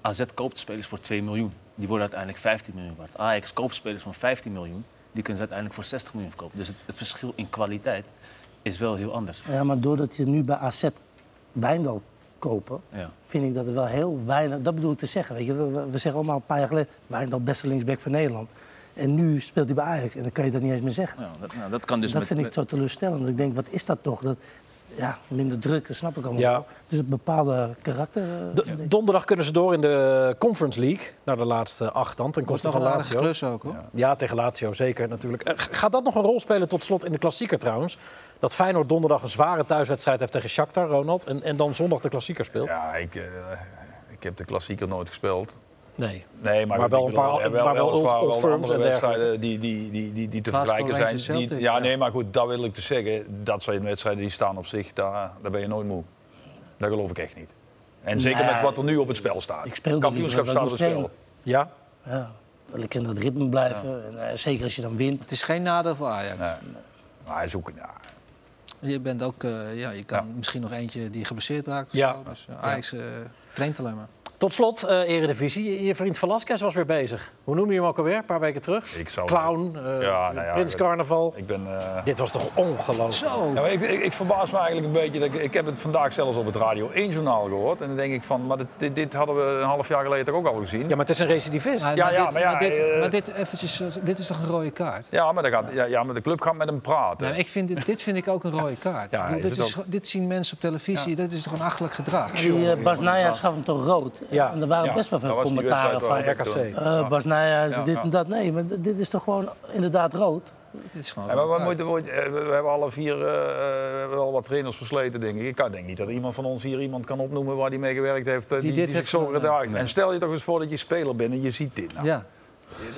S3: AZ koopt spelers voor 2 miljoen. Die worden uiteindelijk 15 miljoen waard. Ajax koopt spelers van 15 miljoen. Die kunnen ze uiteindelijk voor 60 miljoen verkopen. Dus het, het verschil in kwaliteit is wel heel anders.
S5: Ja, maar doordat je nu bij AZ Wijndal kopen,
S3: Ja.
S5: vind ik dat er wel heel weinig... Dat bedoel ik te zeggen, weet je. We, we- we zeggen allemaal een paar jaar geleden, Wijndal beste linksback van Nederland. En nu speelt hij bij Ajax en dan kan je dat niet eens meer zeggen.
S3: Ja, dat, nou, dat kan dus
S5: dat
S3: met,
S5: vind ik
S3: met-
S5: zo teleurstellend. Ik denk, wat is dat toch? Dat, ja, minder druk, dat snap ik allemaal
S1: Ja.
S5: wel. Dus het bepaalde karakter... eh,
S1: D-
S5: denk ik.
S1: Donderdag kunnen ze door in de eh, Conference League. Naar de laatste acht dan. Ten
S2: Dat
S1: koste
S2: is nog
S1: van
S2: een aardige
S1: Lazio.
S2: klus ook, hoor.
S1: Ja, tegen Lazio zeker natuurlijk. Eh, g- gaat dat nog een rol spelen tot slot in de klassieker trouwens? Dat Feyenoord donderdag een zware thuiswedstrijd heeft tegen Shakhtar, Ronald. En, en dan zondag de klassieker speelt.
S4: Ja, ik, eh, ik heb de klassieker nooit gespeeld.
S1: Nee.
S4: Nee, maar,
S1: Maar wel
S4: ik
S1: een paar-
S4: bedoel, er
S1: maar wel
S4: weliswaar
S1: old- old firms
S4: andere
S1: en
S4: wedstrijden die, die, die, die, die te
S2: Glasgow
S4: vergelijken
S2: Rangers
S4: zijn. Die,
S2: Celtic,
S4: ja,
S2: ja.
S4: nee, maar goed, dat wil ik dus zeggen. Dat zijn wedstrijden die staan op zich, daar, daar ben je nooit moe. Dat geloof ik echt niet. En zeker
S5: Nee.
S4: met wat er nu op het spel staat.
S5: Nou Ik speel
S4: Kampioenschap
S5: liever
S4: staat op
S5: dat
S4: het
S5: ik nog
S4: spel. Ja?
S5: Ja, wil ik in dat ritme blijven. En, eh, zeker als je dan wint.
S2: Het is geen nadeel voor Ajax.
S4: Nee. Maar Nou, hij is ook... Ja,
S2: Je bent ook, eh, ja, je kan
S4: Ja.
S2: misschien nog eentje die geblesseerd raakt. of
S1: Ja.
S2: zo. Dus, eh, Ajax eh, traint alleen maar.
S1: Tot slot, eh Eredivisie. Je vriend Velasquez was weer bezig. Hoe noem je hem ook alweer? Een paar weken terug.
S4: Ik zou-
S1: Clown, eh,
S4: Ja, nou ja,
S1: Prins
S4: ik-
S1: Carnaval.
S4: ik ben... eh,
S1: Dit was toch ongelooflijk?
S2: Zo,
S4: Ja, maar ik, ik, ik verbaas me eigenlijk een beetje. Dat ik, ik heb het vandaag zelfs op het radio 1 journaal gehoord. En dan denk ik van, maar dit, dit, dit hadden we een half jaar geleden toch ook al gezien.
S1: Ja, maar het is een recidivist.
S2: Maar-
S4: Ja,
S2: maar
S4: ja,
S2: dit-
S4: maar ja,
S2: maar dit-
S4: eh,
S2: maar dit eventjes, eh, dit is toch een rode kaart?
S4: Ja, maar, dan gaat, ja, ja, maar de club gaat met hem praten.
S5: Nou,
S2: Nee, maar ik vind dit, dit vind ik ook een rode kaart.
S4: Ja,
S2: Ik bedoel,
S4: is
S2: dit,
S4: het
S2: is, dit zien mensen op televisie, dat is toch een achterlijk gedrag?
S5: Die eh, Bas Nijhuis gaf hem toch rood.
S1: Ja.
S5: En er waren
S4: Ja,
S5: best wel veel
S4: dat was die
S5: commentaren van.
S4: wedstrijd
S5: eh
S4: waar-
S1: RKC.
S5: Bas Nijhuis,
S4: Ja,
S5: dit
S4: ja.
S5: en dat. Nee, maar dit is toch gewoon inderdaad rood.
S2: Dit is gewoon
S4: Ja,
S2: een
S4: maar
S2: rode
S4: we,
S2: kaart.
S4: moeten, we, moeten- eh, we- we hebben alle vier eh, we hebben wel wat trainers versleten, denk ik. Ik kan- denk niet dat iemand van ons hier iemand kan opnoemen waar die mee gewerkt heeft. eh, Die,
S2: dit
S4: die zich
S2: heeft
S4: zo
S2: gedaan,
S4: gedragen. En stel je toch eens voor dat je speler bent en je ziet dit. Nou,
S2: Ja,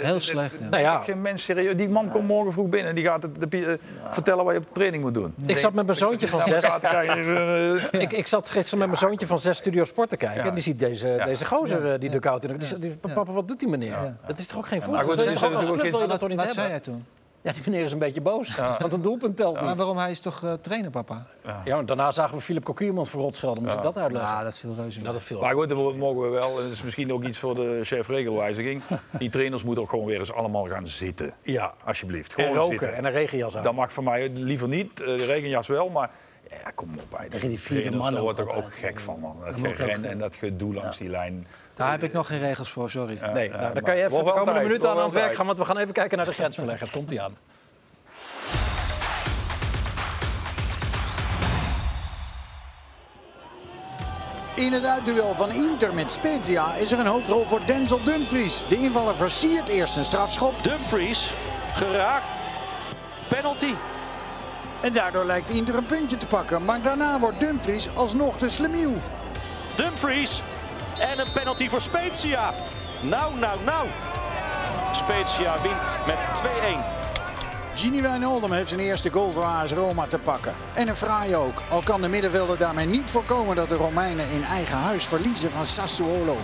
S2: heel slecht. Ja.
S1: Nou ja,
S4: Geen mens serieus. Die man komt morgen vroeg binnen en die gaat het, de, pi- eh, vertellen wat je op de training moet doen.
S1: ik zat met mijn zoontje van zes.
S4: Ja, dan krijg je, eh,
S1: Ik, ik zat gisteren met mijn zoontje van zes Studio Sport te kijken. En die ziet deze, deze gozer, eh, die dugout. in. Die zegt, die- papa, wat doet die meneer? Dat is toch ook geen voetbal?
S4: goed,
S1: Dat wil je
S4: ze
S1: toch ook
S4: zijn
S1: als club
S4: natuurlijk
S1: wil je dat toch niet
S2: Wat, wat zei
S1: hebben?
S2: hij toen?
S1: Ja, die meneer is een beetje boos. Want een doelpunt telt
S2: Maar
S1: niet.
S2: waarom hij is toch eh, trainer, papa?
S1: Ja, want daarna zagen we Philip Cocu iemand voor rot schelden. Moest ik dat
S2: Ja,
S1: uitleggen?
S2: dat is veel reuze.
S1: Nou, dat viel.
S4: Maar goed, dat mogen we wel. En dat is misschien ook iets voor de chef regelwijziging. Die trainers moeten ook gewoon weer eens allemaal gaan zitten.
S1: Ja.
S4: Alsjeblieft. Gewoon
S1: En roken
S4: zitten.
S1: en een regenjas aan.
S4: Dat mag voor mij liever niet. Eh, De regenjas wel, maar... Ja, kom op. Bij
S5: Tegen die vierde man
S4: Daar
S5: ook
S4: word ik ook
S5: altijd.
S4: gek van, man. Dat gerennen en dat gedoe langs die lijn.
S2: Daar heb ik nog geen regels voor, sorry.
S1: Nee, nou, dan kan
S4: maar-
S1: je even de
S4: Wordt wel
S1: komende
S4: tijd,
S1: minuten aan
S4: wordt
S1: aan het
S4: wel
S1: werk
S4: tijd.
S1: gaan. Want we gaan even kijken naar de grensverlegger. Komt hij aan.
S9: In het uitduel van Inter met Spezia is er een hoofdrol voor Denzel Dumfries. De invaller versiert eerst een strafschop.
S3: Dumfries, geraakt. Penalty.
S9: En daardoor lijkt Inter een puntje te pakken. Maar daarna wordt Dumfries alsnog de slemiel.
S3: Dumfries. En een penalty voor Spezia. Nou, nou, nou. Spezia wint met 2-1.
S9: Gini Wijnaldum heeft zijn eerste goal voor AS Roma te pakken. En een fraai ook. Al kan de middenvelder daarmee niet voorkomen dat de Romeinen in eigen huis verliezen van Sassuolo.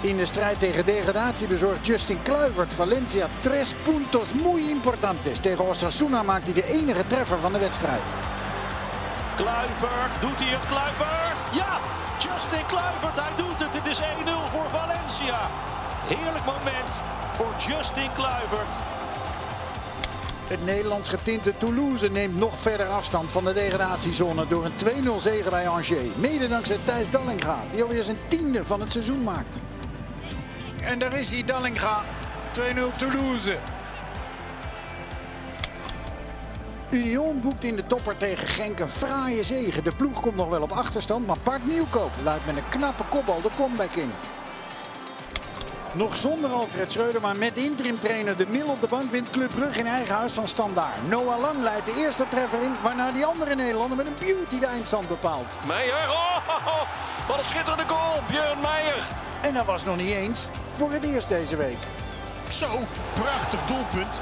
S9: In de strijd tegen degradatie bezorgt Justin Kluivert Valencia tres puntos muy importantes. Tegen Osasuna maakt hij de enige treffer van de wedstrijd.
S3: Kluivert, doet hij het Kluivert? Ja, Justin Kluivert, hij doet het. Het is 1-0 voor Valencia. Heerlijk moment voor Justin Kluivert.
S9: Het Nederlands getinte Toulouse neemt nog verder afstand van de degradatiezone door een 2-0 zege bij Angers. Mede dankzij Thijs Dallinga, die alweer zijn tiende van het seizoen maakt. En daar is hij, Dallinga. 2-0 Toulouse. Union boekt in de topper tegen Genk een fraaie zege. De ploeg komt nog wel op achterstand, maar Bart Nieuwkoop luidt met een knappe kopbal de comeback in. Nog zonder Alfred Schreuder, maar met interimtrainer De Mil op de bank wint Club Brugge in eigen huis van Standaard. Noah Lang leidt de eerste treffer in, waarna die andere Nederlander met een beauty de eindstand bepaalt.
S3: Meijer, oh, wat een schitterende goal. Björn Meijer.
S9: En dat was nog niet eens voor het eerst deze week.
S3: Zo, prachtig doelpunt.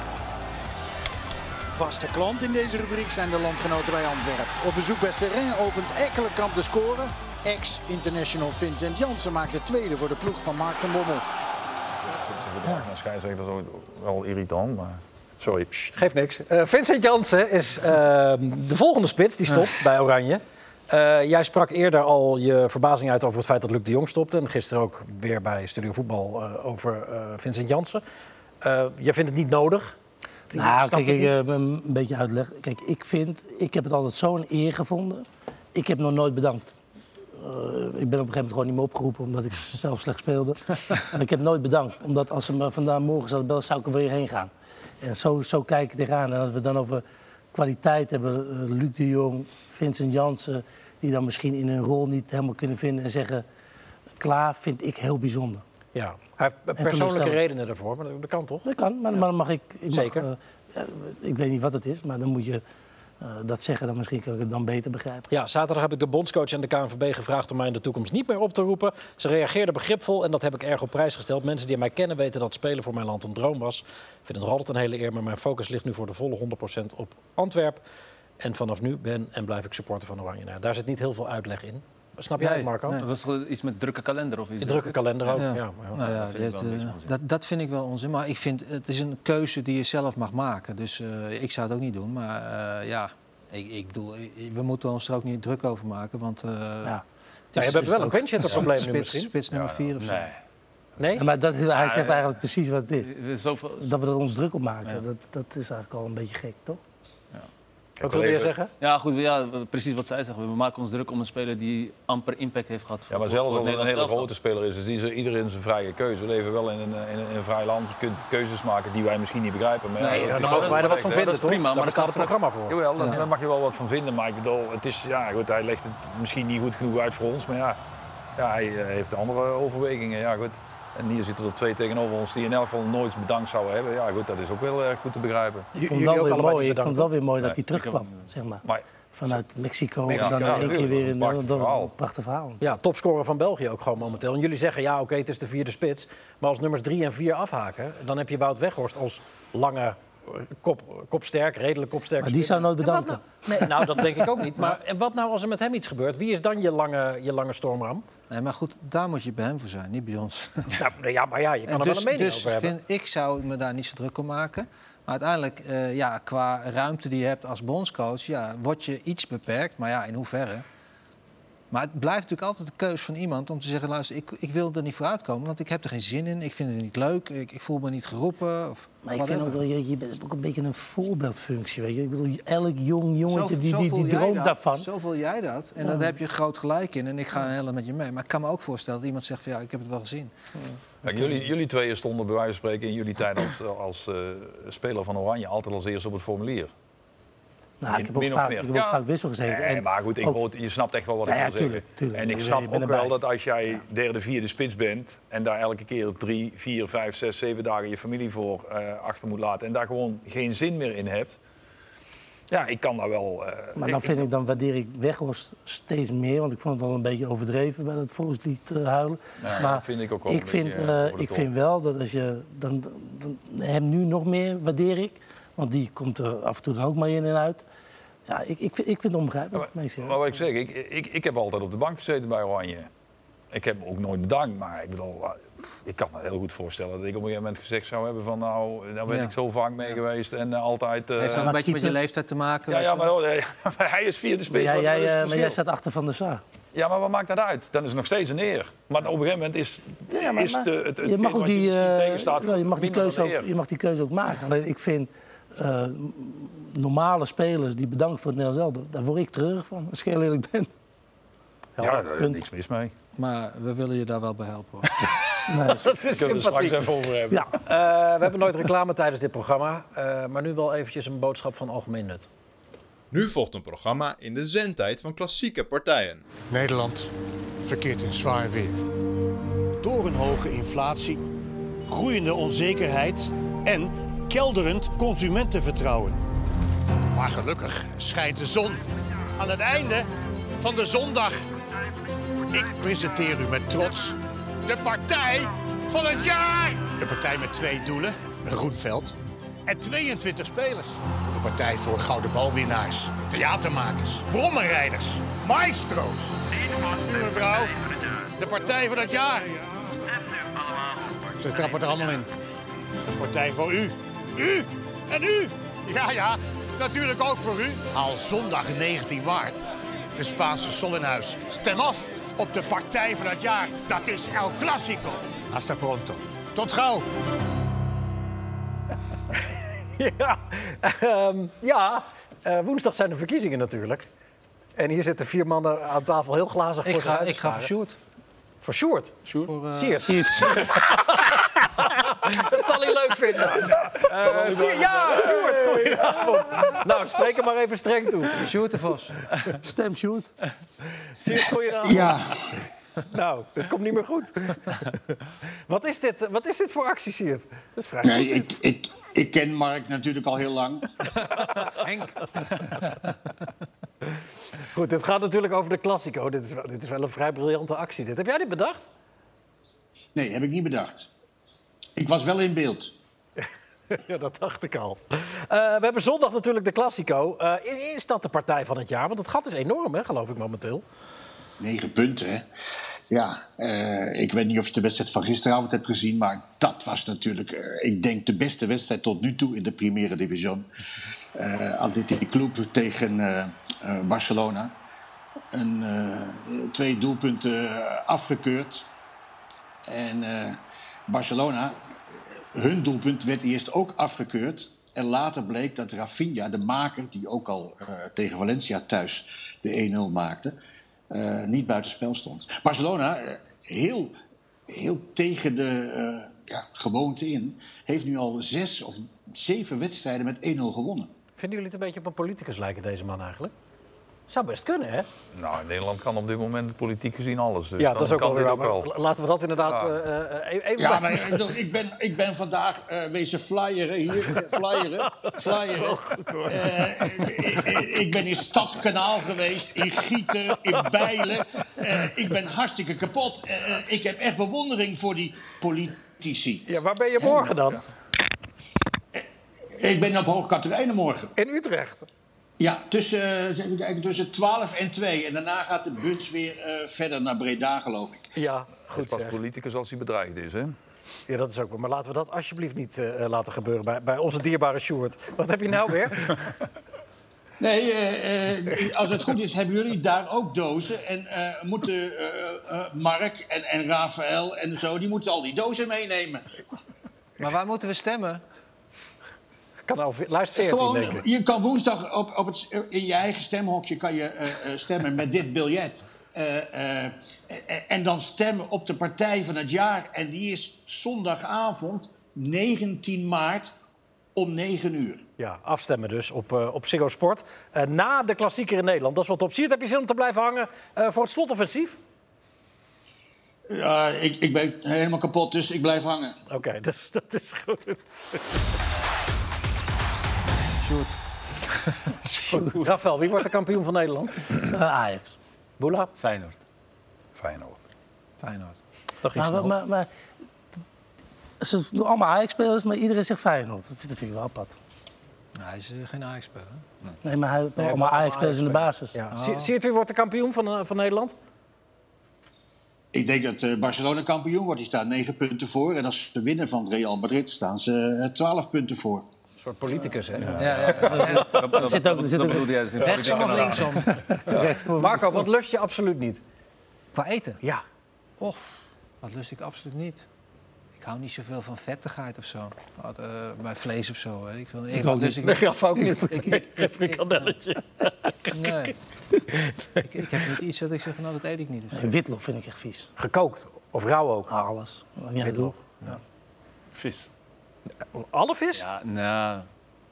S9: Vaste klant in deze rubriek zijn de landgenoten bij Antwerpen. Op bezoek bij Seraing opent Ekkelenkamp de score. Ex-international Vincent Jansen maakt de tweede voor de ploeg van Mark van Bommel.
S4: Waarschijnlijk is dat wel irritant, maar... Sorry.
S1: Geeft niks. Eh, Vincent Jansen is eh, de volgende spits die
S5: Ah.
S1: stopt bij Oranje. Eh, jij sprak eerder al je verbazing uit over het feit dat Luc de Jong stopte. En gisteren ook weer bij Studio Voetbal eh, over eh, Vincent Jansen. Eh, jij vindt het niet nodig. Je
S5: Nou,
S1: snapt
S5: kijk,
S1: het
S5: ik
S1: niet.
S5: eh, een beetje uitleg. Kijk, ik vind, ik heb het altijd zo'n eer gevonden. Ik heb nog nooit bedankt. Eh, ik ben op een gegeven moment gewoon niet meer opgeroepen omdat ik zelf slecht speelde. Maar ik heb nooit bedankt. Omdat als ze me vandaag morgen zouden bellen, zou ik er weer heen gaan. En zo, zo kijk ik eraan. En als we het dan over kwaliteit hebben, eh, Luc de Jong, Vincent Jansen, die dan misschien in hun rol niet helemaal kunnen vinden en zeggen. Klaar vind ik heel bijzonder.
S1: Ja, hij heeft persoonlijke
S5: teleurstellend.
S1: redenen daarvoor, maar dat kan toch?
S5: Dat kan, maar maar dan mag ik. ik
S1: Zeker.
S5: Mag, eh, eh, ik weet niet wat het is, maar dan moet je eh, dat zeggen, dan misschien kan ik het dan beter begrijpen.
S1: Ja, zaterdag heb ik de bondscoach en de KNVB gevraagd om mij in de toekomst niet meer op te roepen. Ze reageerden begripvol en dat heb ik erg op prijs gesteld. Mensen die mij kennen weten dat spelen voor mijn land een droom was. Ik vind het nog altijd een hele eer, maar mijn focus ligt nu voor de volle 100% op Antwerp. En vanaf nu ben en blijf ik supporter van Oranje. Nou, daar zit niet heel veel uitleg in. Snap jij
S2: Nee,
S1: het, Marco?
S2: nee.
S3: Dat was toch iets met drukke kalender of iets?
S1: Een drukke kalender ook. Ja. maar ja.
S2: Nou ja,
S3: dat vind ik
S2: dat,
S3: wel een
S2: eh,
S3: beetje onzin.
S2: dat, dat vind ik wel onzin. Maar ik vind het is een keuze die je zelf mag maken. Dus eh, ik zou het ook niet doen. Maar eh, ja, ik, ik bedoel, eh, we moeten ons er ook niet druk over maken. Want eh
S5: Ja.
S1: Nou, je hebt wel een pensioenprobleem nu
S2: spits,
S1: misschien.
S2: spits nummer 4 of zo.
S3: Nee.
S1: Nee?
S5: Maar dat, hij zegt
S3: eh,
S5: eigenlijk precies wat het is.
S3: Er is Zoveel...
S5: Dat we er ons druk op maken,
S3: Ja.
S5: dat, dat is eigenlijk al een beetje gek, toch?
S1: Wat wilde je zeggen?
S3: Ja, goed, ja, precies wat zij zeggen. We maken ons druk om een speler die amper impact heeft gehad.
S4: Ja, maar zelfs als het een hele grote speler is, is ieder- iedereen zijn vrije keuze. We leven wel in een, in een, in een vrij land. Je kunt keuzes maken die wij misschien niet begrijpen. Maar ja,
S3: Nee,
S4: dat
S3: nou,
S4: is
S1: Daar
S4: wel
S1: mogen wij er wat van
S4: correct,
S1: vinden,
S4: hè.
S3: is
S1: toch?
S3: prima, maar
S1: Daar
S3: dat
S1: bestaat
S3: kan
S1: het programma voor.
S4: Jawel, dat- daar mag je wel wat van vinden. Maar ik bedoel, het is, ja, goed, hij legt het misschien niet goed genoeg uit voor ons. Maar ja, ja hij eh, heeft andere overwegingen. Ja, goed. En hier zitten er twee tegenover ons die in elk geval nooit bedankt zouden hebben. Ja, goed, dat is ook wel erg goed te begrijpen.
S5: Ik vond
S1: jullie
S5: het
S1: ook
S5: wel weer
S1: allebei
S5: mooi,
S1: niet
S5: ik vond het wel weer mooi dat hij
S4: Nee,
S5: terugkwam,
S3: ik ook
S5: zeg maar.
S4: eh, Maar
S5: Vanuit Mexico en
S4: Mexico,
S5: dan
S4: ja,
S5: in één keer
S4: natuurlijk,
S5: weer in
S4: dat was een
S5: dat was
S4: prachtig
S5: een prachtig verhaal.
S1: Ja, topscorer van België ook gewoon momenteel. En jullie zeggen, ja, oké, het is de vierde spits. Maar als nummers drie en vier afhaken, dan heb je Wout Weghorst als lange eh, kop, kopsterk, redelijk kopsterk.
S5: Maar die zou nooit bedanken.
S1: Nee, nou, dat denk ik ook niet. Maar en wat nou als er met hem iets gebeurt? Wie is dan je lange, je lange stormram?
S2: Nee, maar goed, daar moet je bij hem voor zijn, niet bij ons.
S1: Nou, nou ja, maar ja, je kan
S2: En
S1: er wel een mening
S2: dus
S1: over hebben.
S2: Vind, ik zou me daar niet zo druk om maken. Maar uiteindelijk, eh, ja, qua ruimte die je hebt als bondscoach, ja, word je iets beperkt. Maar ja, in hoeverre? Maar het blijft natuurlijk altijd de keus van iemand om te zeggen: luister, ik, ik wil er niet vooruitkomen, want ik heb er geen zin in. Ik vind het niet leuk. Ik, ik voel me niet geroepen. Of
S5: Maar ik
S4: nou?
S5: vind ook
S2: whatever.
S5: wel, je, je bent ook een beetje een voorbeeldfunctie, weet je. Ik bedoel, elk jong
S2: Zo-
S5: jongetje die,
S2: zo
S5: die,
S2: voel
S5: die
S2: jij
S5: droomt
S2: dat.
S5: daarvan.
S2: Zo voel jij dat. En daar heb je groot gelijk in. En ik ga een hele met je mee. Maar ik kan me ook voorstellen dat iemand zegt: van ja, ik heb het wel gezien.
S4: Kijk, jullie, jullie tweeën stonden bij wijze van spreken in jullie tijd als, als eh, speler van Oranje altijd als eerste op het formulier.
S5: Nou, ik heb ook
S4: Min of
S5: vaak,
S4: meer.
S5: ik heb
S4: Ja.
S5: ook vaak wissel gezeten.
S4: Nee,
S5: En
S4: maar goed, ik
S5: ook-
S4: hoor- je snapt echt wel wat ik
S5: Ja, ja,
S4: wil zeggen.
S5: tuurlijk, tuurlijk.
S4: En ik
S5: Je-
S4: snap
S5: je bent
S4: ook wel
S5: erbij.
S4: dat als jij derde, vierde spits bent... en daar elke keer drie, vier, vijf, zes, zeven dagen je familie voor eh, achter moet laten... en daar gewoon geen zin meer in hebt... Ja, ik kan daar wel... eh,
S5: Maar dan, vind ik, dan waardeer ik Weghorst steeds meer. Want ik vond het al een beetje overdreven bij dat volkslied eh, huilen.
S4: Ja,
S5: maar
S4: dat vind ik ook wel een
S5: ik vind,
S4: beetje, eh,
S5: eh,
S4: over de
S5: ik
S4: top.
S5: vind wel dat als je dan, dan, hem nu nog meer waardeer ik. Want die komt er af en toe dan ook maar in en uit. Ja, ik, ik, vind- ik vind het onbegrijpelijk. maar ik zeg,
S4: Maar wat ik zeg, ik, ik, ik heb altijd op de bank gezeten bij Oranje. Ik heb me ook nooit bedankt, maar ik bedoel, eh, ik kan me heel goed voorstellen dat ik op een gegeven moment gezegd zou hebben van nou, daar ben
S2: Ja.
S4: ik zo vaak mee geweest en eh, altijd... eh,
S2: Heeft dat een
S5: maar
S2: beetje met je
S5: keeper-
S2: leeftijd te maken?
S4: ja,
S2: weet
S4: ja,
S2: je wel?
S4: maar oh, nee, hij is vierde
S5: maar
S4: spits.
S5: jij,
S4: wat-
S5: jij,
S4: wat is het
S5: eh, maar jij
S4: verschil?
S5: staat achter Van der Sar.
S4: Ja, maar wat maakt dat uit? Dan is het nog steeds een eer. Maar op een gegeven moment is,
S5: Ja, maar-
S4: is
S5: maar
S4: de, het, het
S5: je mag ook
S4: wat je
S5: die,
S4: misschien
S5: eh,
S4: tegenstaat
S5: ja, je, mag die
S4: minder
S5: keuze
S4: dan
S5: ook,
S4: een eer.
S5: je mag die keuze ook maken. Alleen ik vind eh, normale spelers die bedankt voor het Nederlands elftal, daar word ik treurig van, als ik heel eerlijk ben.
S4: Ja, daar is
S5: punt.
S4: niks mis mee.
S2: Maar we willen je daar wel bij helpen. hoor.
S5: Nee,
S1: Dat is
S4: Kunnen we het straks
S1: sympathiek.
S4: even over hebben.
S5: ja.
S1: Eh, we hebben nooit reclame tijdens dit programma. eh, maar nu wel eventjes een boodschap van algemeen nut.
S10: Nu volgt een programma in de zendtijd van klassieke partijen.
S11: Nederland verkeert in zwaar weer.
S12: torenhoge inflatie, groeiende onzekerheid en kelderend consumentenvertrouwen.
S11: Maar gelukkig schijnt de zon aan het einde van de zondag. Ik presenteer u met trots de partij van het jaar. De partij met twee doelen, een groen veld en 22 spelers. De partij voor gouden balwinnaars, theatermakers, brommerrijders, maestro's. Uw mevrouw, de partij van het jaar. Ze trappen er allemaal in. Een partij voor u. U en u. Ja, ja, natuurlijk ook voor u. Al zondag 19 maart. De Spaanse Sol in huis. Stem af op de partij van het jaar. Dat is El Clásico. Hasta pronto. Tot gauw.
S1: ja, ehm, ja eh, woensdag zijn de verkiezingen natuurlijk. En hier zitten vier mannen aan tafel heel glazig
S2: ik,
S1: voor zich
S2: ga,
S1: uit te
S2: ik ga voor
S1: staren.
S2: Sjoerd.
S1: Voor Sjoerd.
S2: Voor, eh,
S1: Siert. Dat zal hij leuk vinden. Eh, Siert- ja, Sjoerd, goedenavond. Nou, spreek hem maar even streng toe.
S2: Sjoerd de Vos.
S5: Stem shoot.
S1: Siert, goedenavond.
S11: Ja,
S1: Nou, het komt niet meer goed. wat, is dit, wat is dit voor actie, Siert? Dat is vrij
S11: nee,
S1: goed.
S11: ik, ik,
S9: Ik ken Mark natuurlijk al heel lang.
S1: Henk. Goed, dit gaat natuurlijk over de Classico. Dit is, wel, dit is wel een vrij briljante actie. Dit. Heb jij dit bedacht?
S9: Nee, heb ik niet bedacht. Ik was wel in beeld.
S1: ja, dat dacht ik al. Eh, we hebben zondag natuurlijk de Classico. Eh, i- is dat de partij van het jaar? Want het gat is enorm, hè, geloof ik momenteel.
S9: Negen punten, hè? Ja, eh, ik weet niet of je de wedstrijd van gisteravond hebt gezien, maar dat was natuurlijk, eh, ik denk, de beste wedstrijd tot nu toe in de Primera Division. Eh Atletico Club tegen eh, eh, Barcelona. Een, eh, twee doelpunten afgekeurd. En eh, Barcelona, hun doelpunt werd eerst ook afgekeurd. En later bleek dat Rafinha, de maker, die ook al eh, tegen Valencia thuis de 1-0 maakte, eh, niet buitenspel stond. Barcelona, eh, heel, heel tegen de eh, ja, gewoonte in, heeft nu al zes of zeven wedstrijden met 1-0 gewonnen.
S1: Vinden jullie het een beetje op een politicus lijken, deze man eigenlijk? Zou best kunnen, hè?
S4: Nou, in Nederland kan op dit moment politiek gezien alles. Dus
S1: ja,
S4: dan
S1: dat is ook
S4: kan
S1: wel weer
S4: dit
S1: waar. Maar la- Laten we dat inderdaad
S4: Ja.
S1: eh, eh, eh, even...
S9: Ja,
S1: laten-
S9: maar ik, bedoel, ik, ben, ik ben vandaag eh wezen flyeren hier. eh, Flyeren. Flyeren. Eh, ik, ik ben in Stadskanaal geweest, in Gieten, in Bijlen. Eh, ik ben hartstikke kapot. Eh, eh, ik heb echt bewondering voor die politici.
S1: Ja, waar ben je morgen dan?
S9: Ik ben op Hoogkaterijnen morgen.
S1: In Utrecht?
S9: Ja, tussen, eh, eens even kijken, tussen 12 en 2. En daarna gaat de bus weer eh, verder naar Breda, geloof ik.
S1: Ja,
S4: Goed, is pas politicus als hij bedreigd is, hè?
S1: Ja, dat is ook wel. Maar laten we dat alsjeblieft niet eh, laten gebeuren bij, bij onze dierbare Sjoerd. Wat heb je nou weer?
S9: Nee, eh, eh, als het goed is, hebben jullie daar ook dozen. En eh, moeten eh, eh, Mark en, en Rafael en zo, die moeten al die dozen meenemen.
S2: Maar waar moeten we stemmen?
S1: Kan over, luister
S9: Gewoon, je kan woensdag op, op het, in je eigen stemhokje kan je, eh, eh, stemmen met dit biljet. Eh, eh, eh, en dan stemmen op de partij van het jaar. En die is zondagavond, 19 maart, om 9 uur.
S1: Ja, afstemmen dus op, eh op Ziggo Sport. Eh, na de klassieker in Nederland. Dat is wat op Siert. Heb je zin om te blijven hangen eh, voor het slotoffensief?
S9: Ja, ik, ik ben helemaal kapot, dus ik blijf hangen.
S1: Oké, dus dat is goed.
S2: Sjoerd.
S1: goed. Rafael, wie wordt de kampioen van Nederland?
S5: Ajax.
S1: Boela?
S3: Feyenoord.
S4: Feyenoord.
S2: Feyenoord.
S1: Dat
S5: Maar, maar, maar, maar- ze doen allemaal Ajax-spelers, maar iedereen zegt Feyenoord. Dat vind ik wel apart.
S2: Nou, hij is eh, geen Ajax-speler. hè?
S5: Nee, maar hij heeft allemaal Ajax-spelers in de basis.
S1: Ja.
S5: Ah.
S1: Si- Siert, wie wordt de kampioen van, eh, van Nederland?
S9: Ik denk dat eh, Barcelona kampioen wordt. Die staat 9 punten voor. En als ze winnen van Real Madrid staan ze eh, 12 punten voor.
S1: Een soort politicus, hè? Ja,
S3: Dat zit ook- dat zit ook- Dat bedoelde jij dus in
S2: Rechtsom of
S3: politiek
S2: linksom?
S1: Marco, wat lust je absoluut niet?
S2: Qua eten?
S1: Ja.
S2: Och, dat lust ik absoluut niet. Ik hou niet zoveel van vettigheid of zo. Wat, eh, bij vlees of zo. Hè. Ik wil
S1: Ik
S2: eh, wat
S1: ook
S2: lust
S1: niet. Nee, Raf ook niet. Geen frikandelletje.
S2: nee. ik, ik heb niet iets dat ik zeg, van, nou dat eet ik niet. Dus.
S5: Nee, Witlof vind ik echt vies.
S1: Gekookt of rauw ook?
S5: Alles. Ja,
S1: Witlof.
S3: Vis.
S1: Alle vis?
S3: Ja, nou,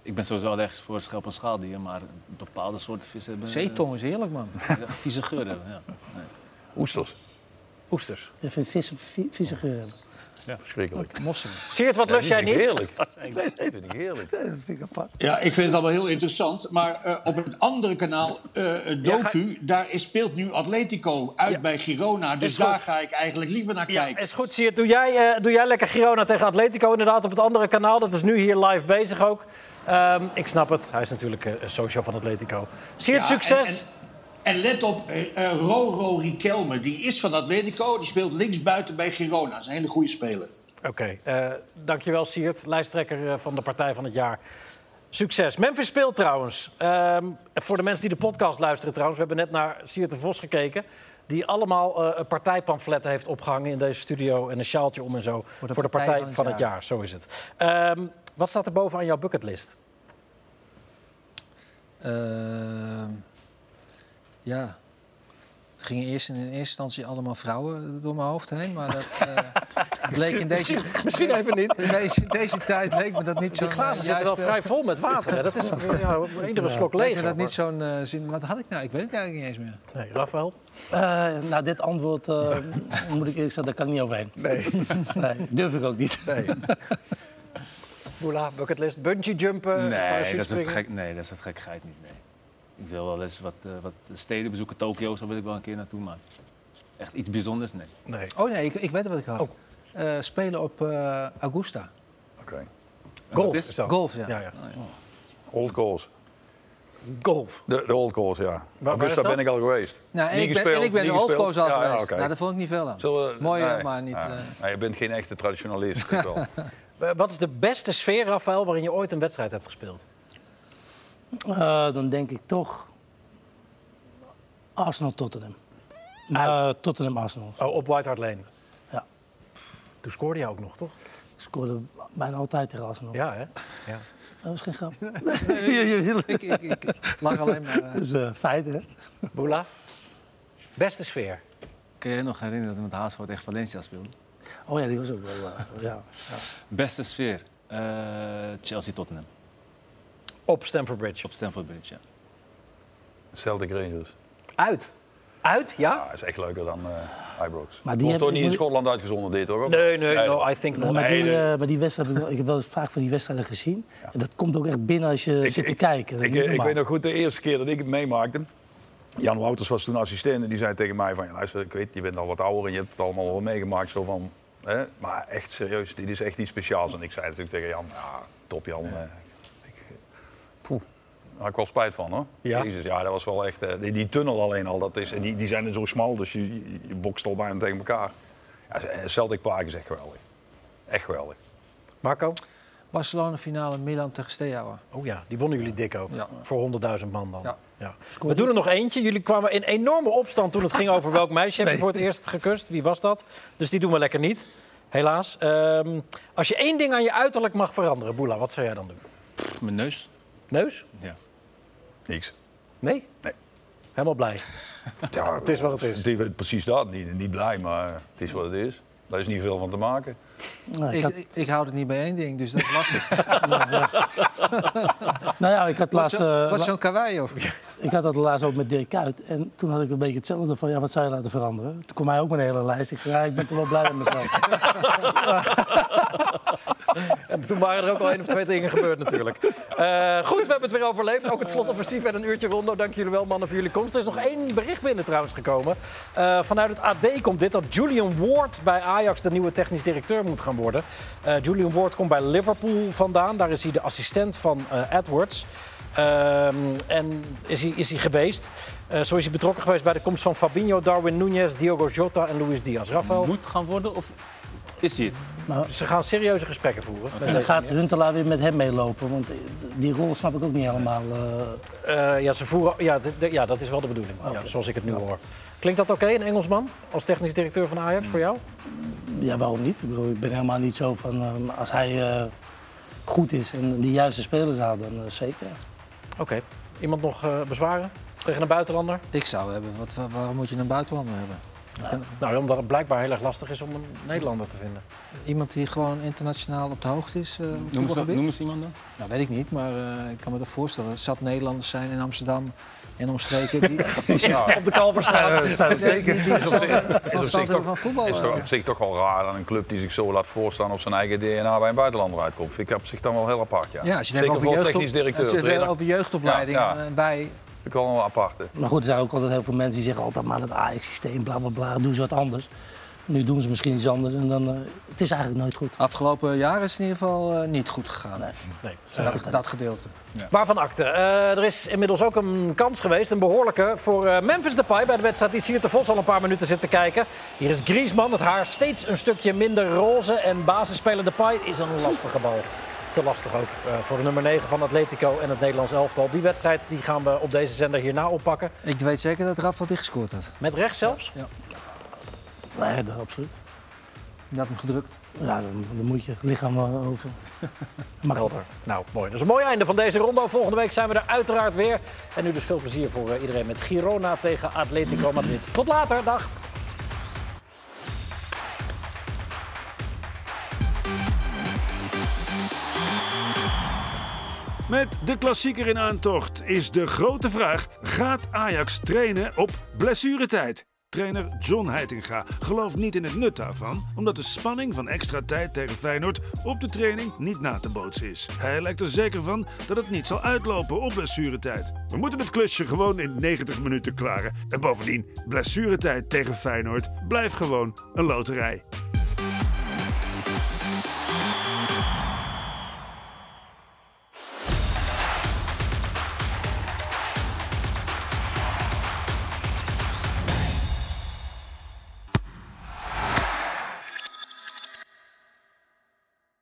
S3: ik ben sowieso allergisch voor schelp en schaaldieren, maar bepaalde soorten vissen hebben...
S2: Zeetong is heerlijk, man.
S3: eh, Vieze geur hebben, ja. Nee.
S4: Oesters.
S1: Oesters.
S5: Je vindt vissen vi- vieze geur hebben.
S4: Ja, verschrikkelijk.
S2: Mossen.
S1: Siert, wat lust jij niet?
S4: Heerlijk. Dat vind ik heerlijk.
S9: Ja, ik vind het allemaal heel interessant. Maar eh, op een andere kanaal, eh eh, Doku, daar is, speelt nu Atletico uit bij Girona. Dus
S1: Is goed.
S9: daar ga ik eigenlijk liever naar
S1: Ja,
S9: kijken.
S1: is goed, Siert. Doe jij, eh, doe jij lekker Girona tegen Atletico inderdaad op het andere kanaal. Dat is nu hier live bezig ook. Ehm, ik snap het. Hij is natuurlijk eh, social van Atletico. Siert,
S9: Ja,
S1: succes.
S9: En, en, en let op, eh, eh, Roro Riquelme, die is van Atletico. Die speelt linksbuiten bij Girona. Dat is een hele goede speler.
S1: Oké, eh dankjewel Siert, lijsttrekker eh, van de Partij van het Jaar. Succes. Memphis speelt trouwens. Ehm, voor de mensen die de podcast luisteren trouwens. We hebben net naar Siert de Vos gekeken. Die allemaal eh, een partijpamfletten heeft opgehangen in deze studio. En een sjaaltje om en zo. Voor de, Partij, van, het, jaar. Zo is het. Ehm, wat staat er boven aan jouw bucketlist?
S2: Ehm, ja. Er gingen eerst in eerste instantie allemaal vrouwen door mijn hoofd heen. Maar dat eh, bleek in deze...
S1: Misschien- misschien even niet.
S2: In deze, in deze tijd leek me dat niet zo'n...
S1: Die glazen
S2: eh,
S1: zitten wel
S2: juiste-
S1: vrij vol met water. Hè? Dat is ja, iedere slok
S2: Leek me
S1: leeg.
S2: dat niet zo'n eh, zin... Wat had ik nou? Ik weet het eigenlijk niet eens meer.
S1: Nee, Rafael?
S5: Eh, nou, dit antwoord eh,
S3: eh,
S5: moet ik eerlijk zeggen, daar kan ik niet overheen. Nee. Durf ik ook niet.
S1: Nee. Boula, bucketlist, bungee jumpen,
S3: Nee, dat is
S1: parachutespringen?
S3: wat gek, nee, dat is wat gekheid niet, nee. Ik wil wel eens wat, eh, wat steden bezoeken. Tokio, zo wil ik wel een keer naartoe, maar echt iets bijzonders, nee.
S1: Nee.
S2: Oh nee, ik, ik weet wat ik had.
S1: Oh.
S2: Eh, spelen op eh, Augusta.
S4: Oké.
S1: Golf is dat?
S2: Golf, ja.
S1: Ja, ja.
S4: Old goals.
S1: Golf.
S4: De, de old goals, ja.
S2: waar
S4: Augusta
S2: is dat?
S4: ben ik al geweest.
S2: Nou, en,
S4: Niet
S2: ik ben,
S4: gespeeld,
S2: en ik ben
S4: niet
S2: de old
S4: gespeeld.
S2: coach al
S4: Ja, ja,
S2: geweest.
S4: oké.
S2: Nou, dat vond ik niet veel aan.
S4: Zullen we-
S2: Mooi,
S4: nee,
S2: maar niet...
S4: nee.
S2: eh,
S4: Nee, je bent geen echte traditionalist. dat wel.
S1: Eh, Wat is de beste sfeer, Rafael, waarin je ooit een wedstrijd hebt gespeeld?
S5: Eh, dan denk ik toch Arsenal-Tottenham. Eh, Tottenham-Arsenal.
S1: Oh, op White Hart Lane.
S5: Ja.
S1: Toen scoorde je ook nog, toch?
S5: Ik scoorde bijna altijd tegen Arsenal.
S1: Ja, hè? Ja.
S5: Dat was geen grap.
S2: ik, ik, ik lag alleen maar... eh,
S5: Dat is eh, feit, hè?
S1: Boula, beste sfeer.
S3: Kun jij je nog herinneren dat we met Haasvoort echt Valencia speelden?
S5: Oh ja, die was ook wel... eh, ja. ja.
S3: Beste sfeer, eh, Chelsea-Tottenham
S1: Op Stamford Bridge.
S3: op Stamford Bridge, ja.
S4: Celtic Rangers.
S1: Uit. Uit, ja?
S4: Ja, is echt leuker dan eh Ibrox.
S5: Maar
S4: Maar
S5: die
S4: die
S5: hebben-
S4: toch niet in
S5: moet-
S4: Schotland uitgezonden dit, hoor?
S1: Nee, nee, no, I think
S5: Nee,
S1: not.
S5: maar, die,
S1: Nee,
S5: eh, maar die wedstrijd, heb ik wel- ik heb wel eens vaak van die wedstrijden gezien. En dat komt ook echt binnen als je zit te kijken. Dat is
S4: Ik,
S5: niet
S4: ik
S5: normaal.
S4: weet nog goed, de eerste keer dat ik het meemaakte... Jan Wouters was toen assistent en die zei tegen mij van... "Ja, Luister, ik weet, je bent al wat ouder en je hebt het allemaal wel meegemaakt. Zo van, hè? Maar echt serieus, dit is echt iets speciaals. En ik zei natuurlijk tegen Jan, ja, top Jan. eh, ik, poeh, daar had ik wel spijt van, hoor.
S1: Ja?
S4: Jezus, ja, dat was wel echt... eh, die, die tunnel alleen al, dat is, en die, die zijn er zo smal, dus je, je- je bokst al bijna tegen elkaar. Ja, Celtic Park is echt geweldig. Echt geweldig.
S1: Marco?
S2: Barcelona finale, Milan tegen Steaua.
S1: Oh ja, die wonnen jullie dik ook.
S2: Ja.
S1: Voor 100.000 man dan. Ja.
S2: Ja.
S1: We doen er nog eentje. Jullie kwamen in enorme opstand toen het ging over welk meisje heb je voor het eerst gekust. Wie was dat? Dus die doen we lekker niet. Helaas. Ehm, als je één ding aan je uiterlijk mag veranderen, Boela, wat zou jij dan doen?
S3: Pff, Mijn neus,
S1: Neus?
S3: ja.
S4: Niks.
S1: Nee?
S4: Nee.
S1: Helemaal blij.
S4: Ja,
S1: Het is wat het is.
S4: Precies dat. Niet, niet blij, maar het is wat het is. Daar is niet veel van te maken.
S5: Nou, ik
S2: Ik,
S5: had-
S2: ik, ik hou het niet bij één ding, dus dat is lastig.
S5: nou ja, ik
S2: wat
S5: had laatst...
S2: zo-
S5: eh,
S2: wat
S5: la-
S2: zo'n kawaii, of?
S5: Ik had dat laatst ook met Dirk Kuyt. En toen had ik een beetje hetzelfde van, ja, wat zou je laten veranderen? Toen kwam hij ook met een hele lijst. Ik zei, ja, ik ben toch wel blij met mezelf.
S1: En toen waren er ook al één of twee dingen gebeurd natuurlijk. Eh, goed, we hebben het weer overleefd. Ook het slotoffensief en een uurtje rondo. Dank jullie wel, mannen, voor jullie komst. Er is nog één bericht binnen trouwens gekomen. Eh, vanuit het AD komt dit dat Julian Ward bij Ajax de nieuwe technisch directeur moet gaan worden. Eh, Julian Ward komt bij Liverpool vandaan. Daar is hij de assistent van eh, Edwards. Ehm, en is hij, is hij geweest. Eh, zo is hij betrokken geweest bij de komst van Fabinho, Darwin Núñez, Diogo Jota en Luis Diaz. Rafael,
S3: Moet gaan worden of is hij het?
S1: ze gaan serieuze gesprekken voeren. met
S5: En
S1: deze
S5: dan gaat
S1: meneer.
S5: Huntelaar weer met hem meelopen. Want eh, die rol snap ik ook niet helemaal. eh.
S1: Eh, ja, ze voeren, ja, d- d- ja, dat is wel de bedoeling, ja, zoals ik het nu hoor. Klinkt dat oké, een Engelsman, als technisch directeur van Ajax, voor jou?
S5: ja, waarom niet? Ik, bedoel, ik ben helemaal niet zo van... eh, als hij eh, goed is en de juiste spelers haalt, dan eh, zeker.
S1: Oké. Iemand nog eh, bezwaren tegen een buitenlander?
S2: Ik zou hebben, wat, wa- waarom moet je een buitenlander hebben?
S1: Nou, omdat het blijkbaar heel erg lastig is om een Nederlander te vinden.
S2: Iemand die gewoon internationaal op de hoogte is? eh, op
S3: Noem eens,
S2: voetbalgebied?
S3: noem eens iemand dan.
S2: Nou, weet ik niet, maar eh, ik kan me dat voorstellen. Er zat Nederlanders zijn in Amsterdam en omstreken die, die,
S1: Op de Kalverstraat.
S2: die, die, die verstand hebben-
S4: Is op, zich
S2: verstand hebben van
S4: toch,
S2: voetbal.
S4: is toch
S2: eh.
S4: op zich toch wel raar dat een club die zich zo laat voorstaan op zijn eigen DNA bij een buitenlander uitkomt. Vind ik op zich dan wel heel apart. Ja,
S2: Ja, als je het
S4: Zeker
S2: hebt over,
S4: voor
S2: jeugdop-
S4: technisch directeur.
S2: als je het hebt
S4: trainer,
S2: over jeugdopleiding
S4: Ja, ja.
S2: eh, bij...
S4: Vind ik wel een aparte.
S5: Maar goed, er zijn ook altijd heel veel mensen die zeggen altijd maar dat Ajax-systeem, bla bla bla, doen ze wat anders. Nu doen ze misschien iets anders en dan... eh, het is eigenlijk nooit goed.
S2: Afgelopen jaar is het in ieder geval eh, niet goed gegaan.
S1: Nee.
S2: Dat, dat gedeelte.
S1: Waarvan akte? Eh, er is inmiddels ook een kans geweest, een behoorlijke, voor eh Memphis Depay bij de wedstrijd die Sier te Vos al een paar minuten zit te kijken. Hier is Griezmann, het haar steeds een stukje minder roze en basisspeler Depay is een lastige bal. Te lastig ook eh, voor de nummer 9 van Atletico en het Nederlands elftal. Die wedstrijd die gaan we op deze zender hierna oppakken.
S2: Ik weet zeker dat Rafa die gescoord had.
S1: Met rechts zelfs.
S5: Nee, dat, absoluut.
S2: Die had hem gedrukt.
S5: Ja, dan, dan moet je lichaam eh, over.
S1: Helder. Nou, mooi. Dat is een mooi einde van deze ronde. Volgende week zijn we er uiteraard weer. En nu dus veel plezier voor eh, iedereen met Girona tegen Atletico Madrid. Tot later. Dag.
S13: Met de klassieker in aantocht is de grote vraag: gaat Ajax trainen op blessuretijd?
S9: trainer John Heitinga gelooft niet in het nut daarvan, omdat de spanning van extra tijd tegen Feyenoord op de training niet na te bootsen is. Hij lijkt er zeker van dat het niet zal uitlopen op blessuretijd. We moeten het klusje gewoon in 90 minuten klaren. En bovendien, blessuretijd tegen Feyenoord blijft gewoon een loterij.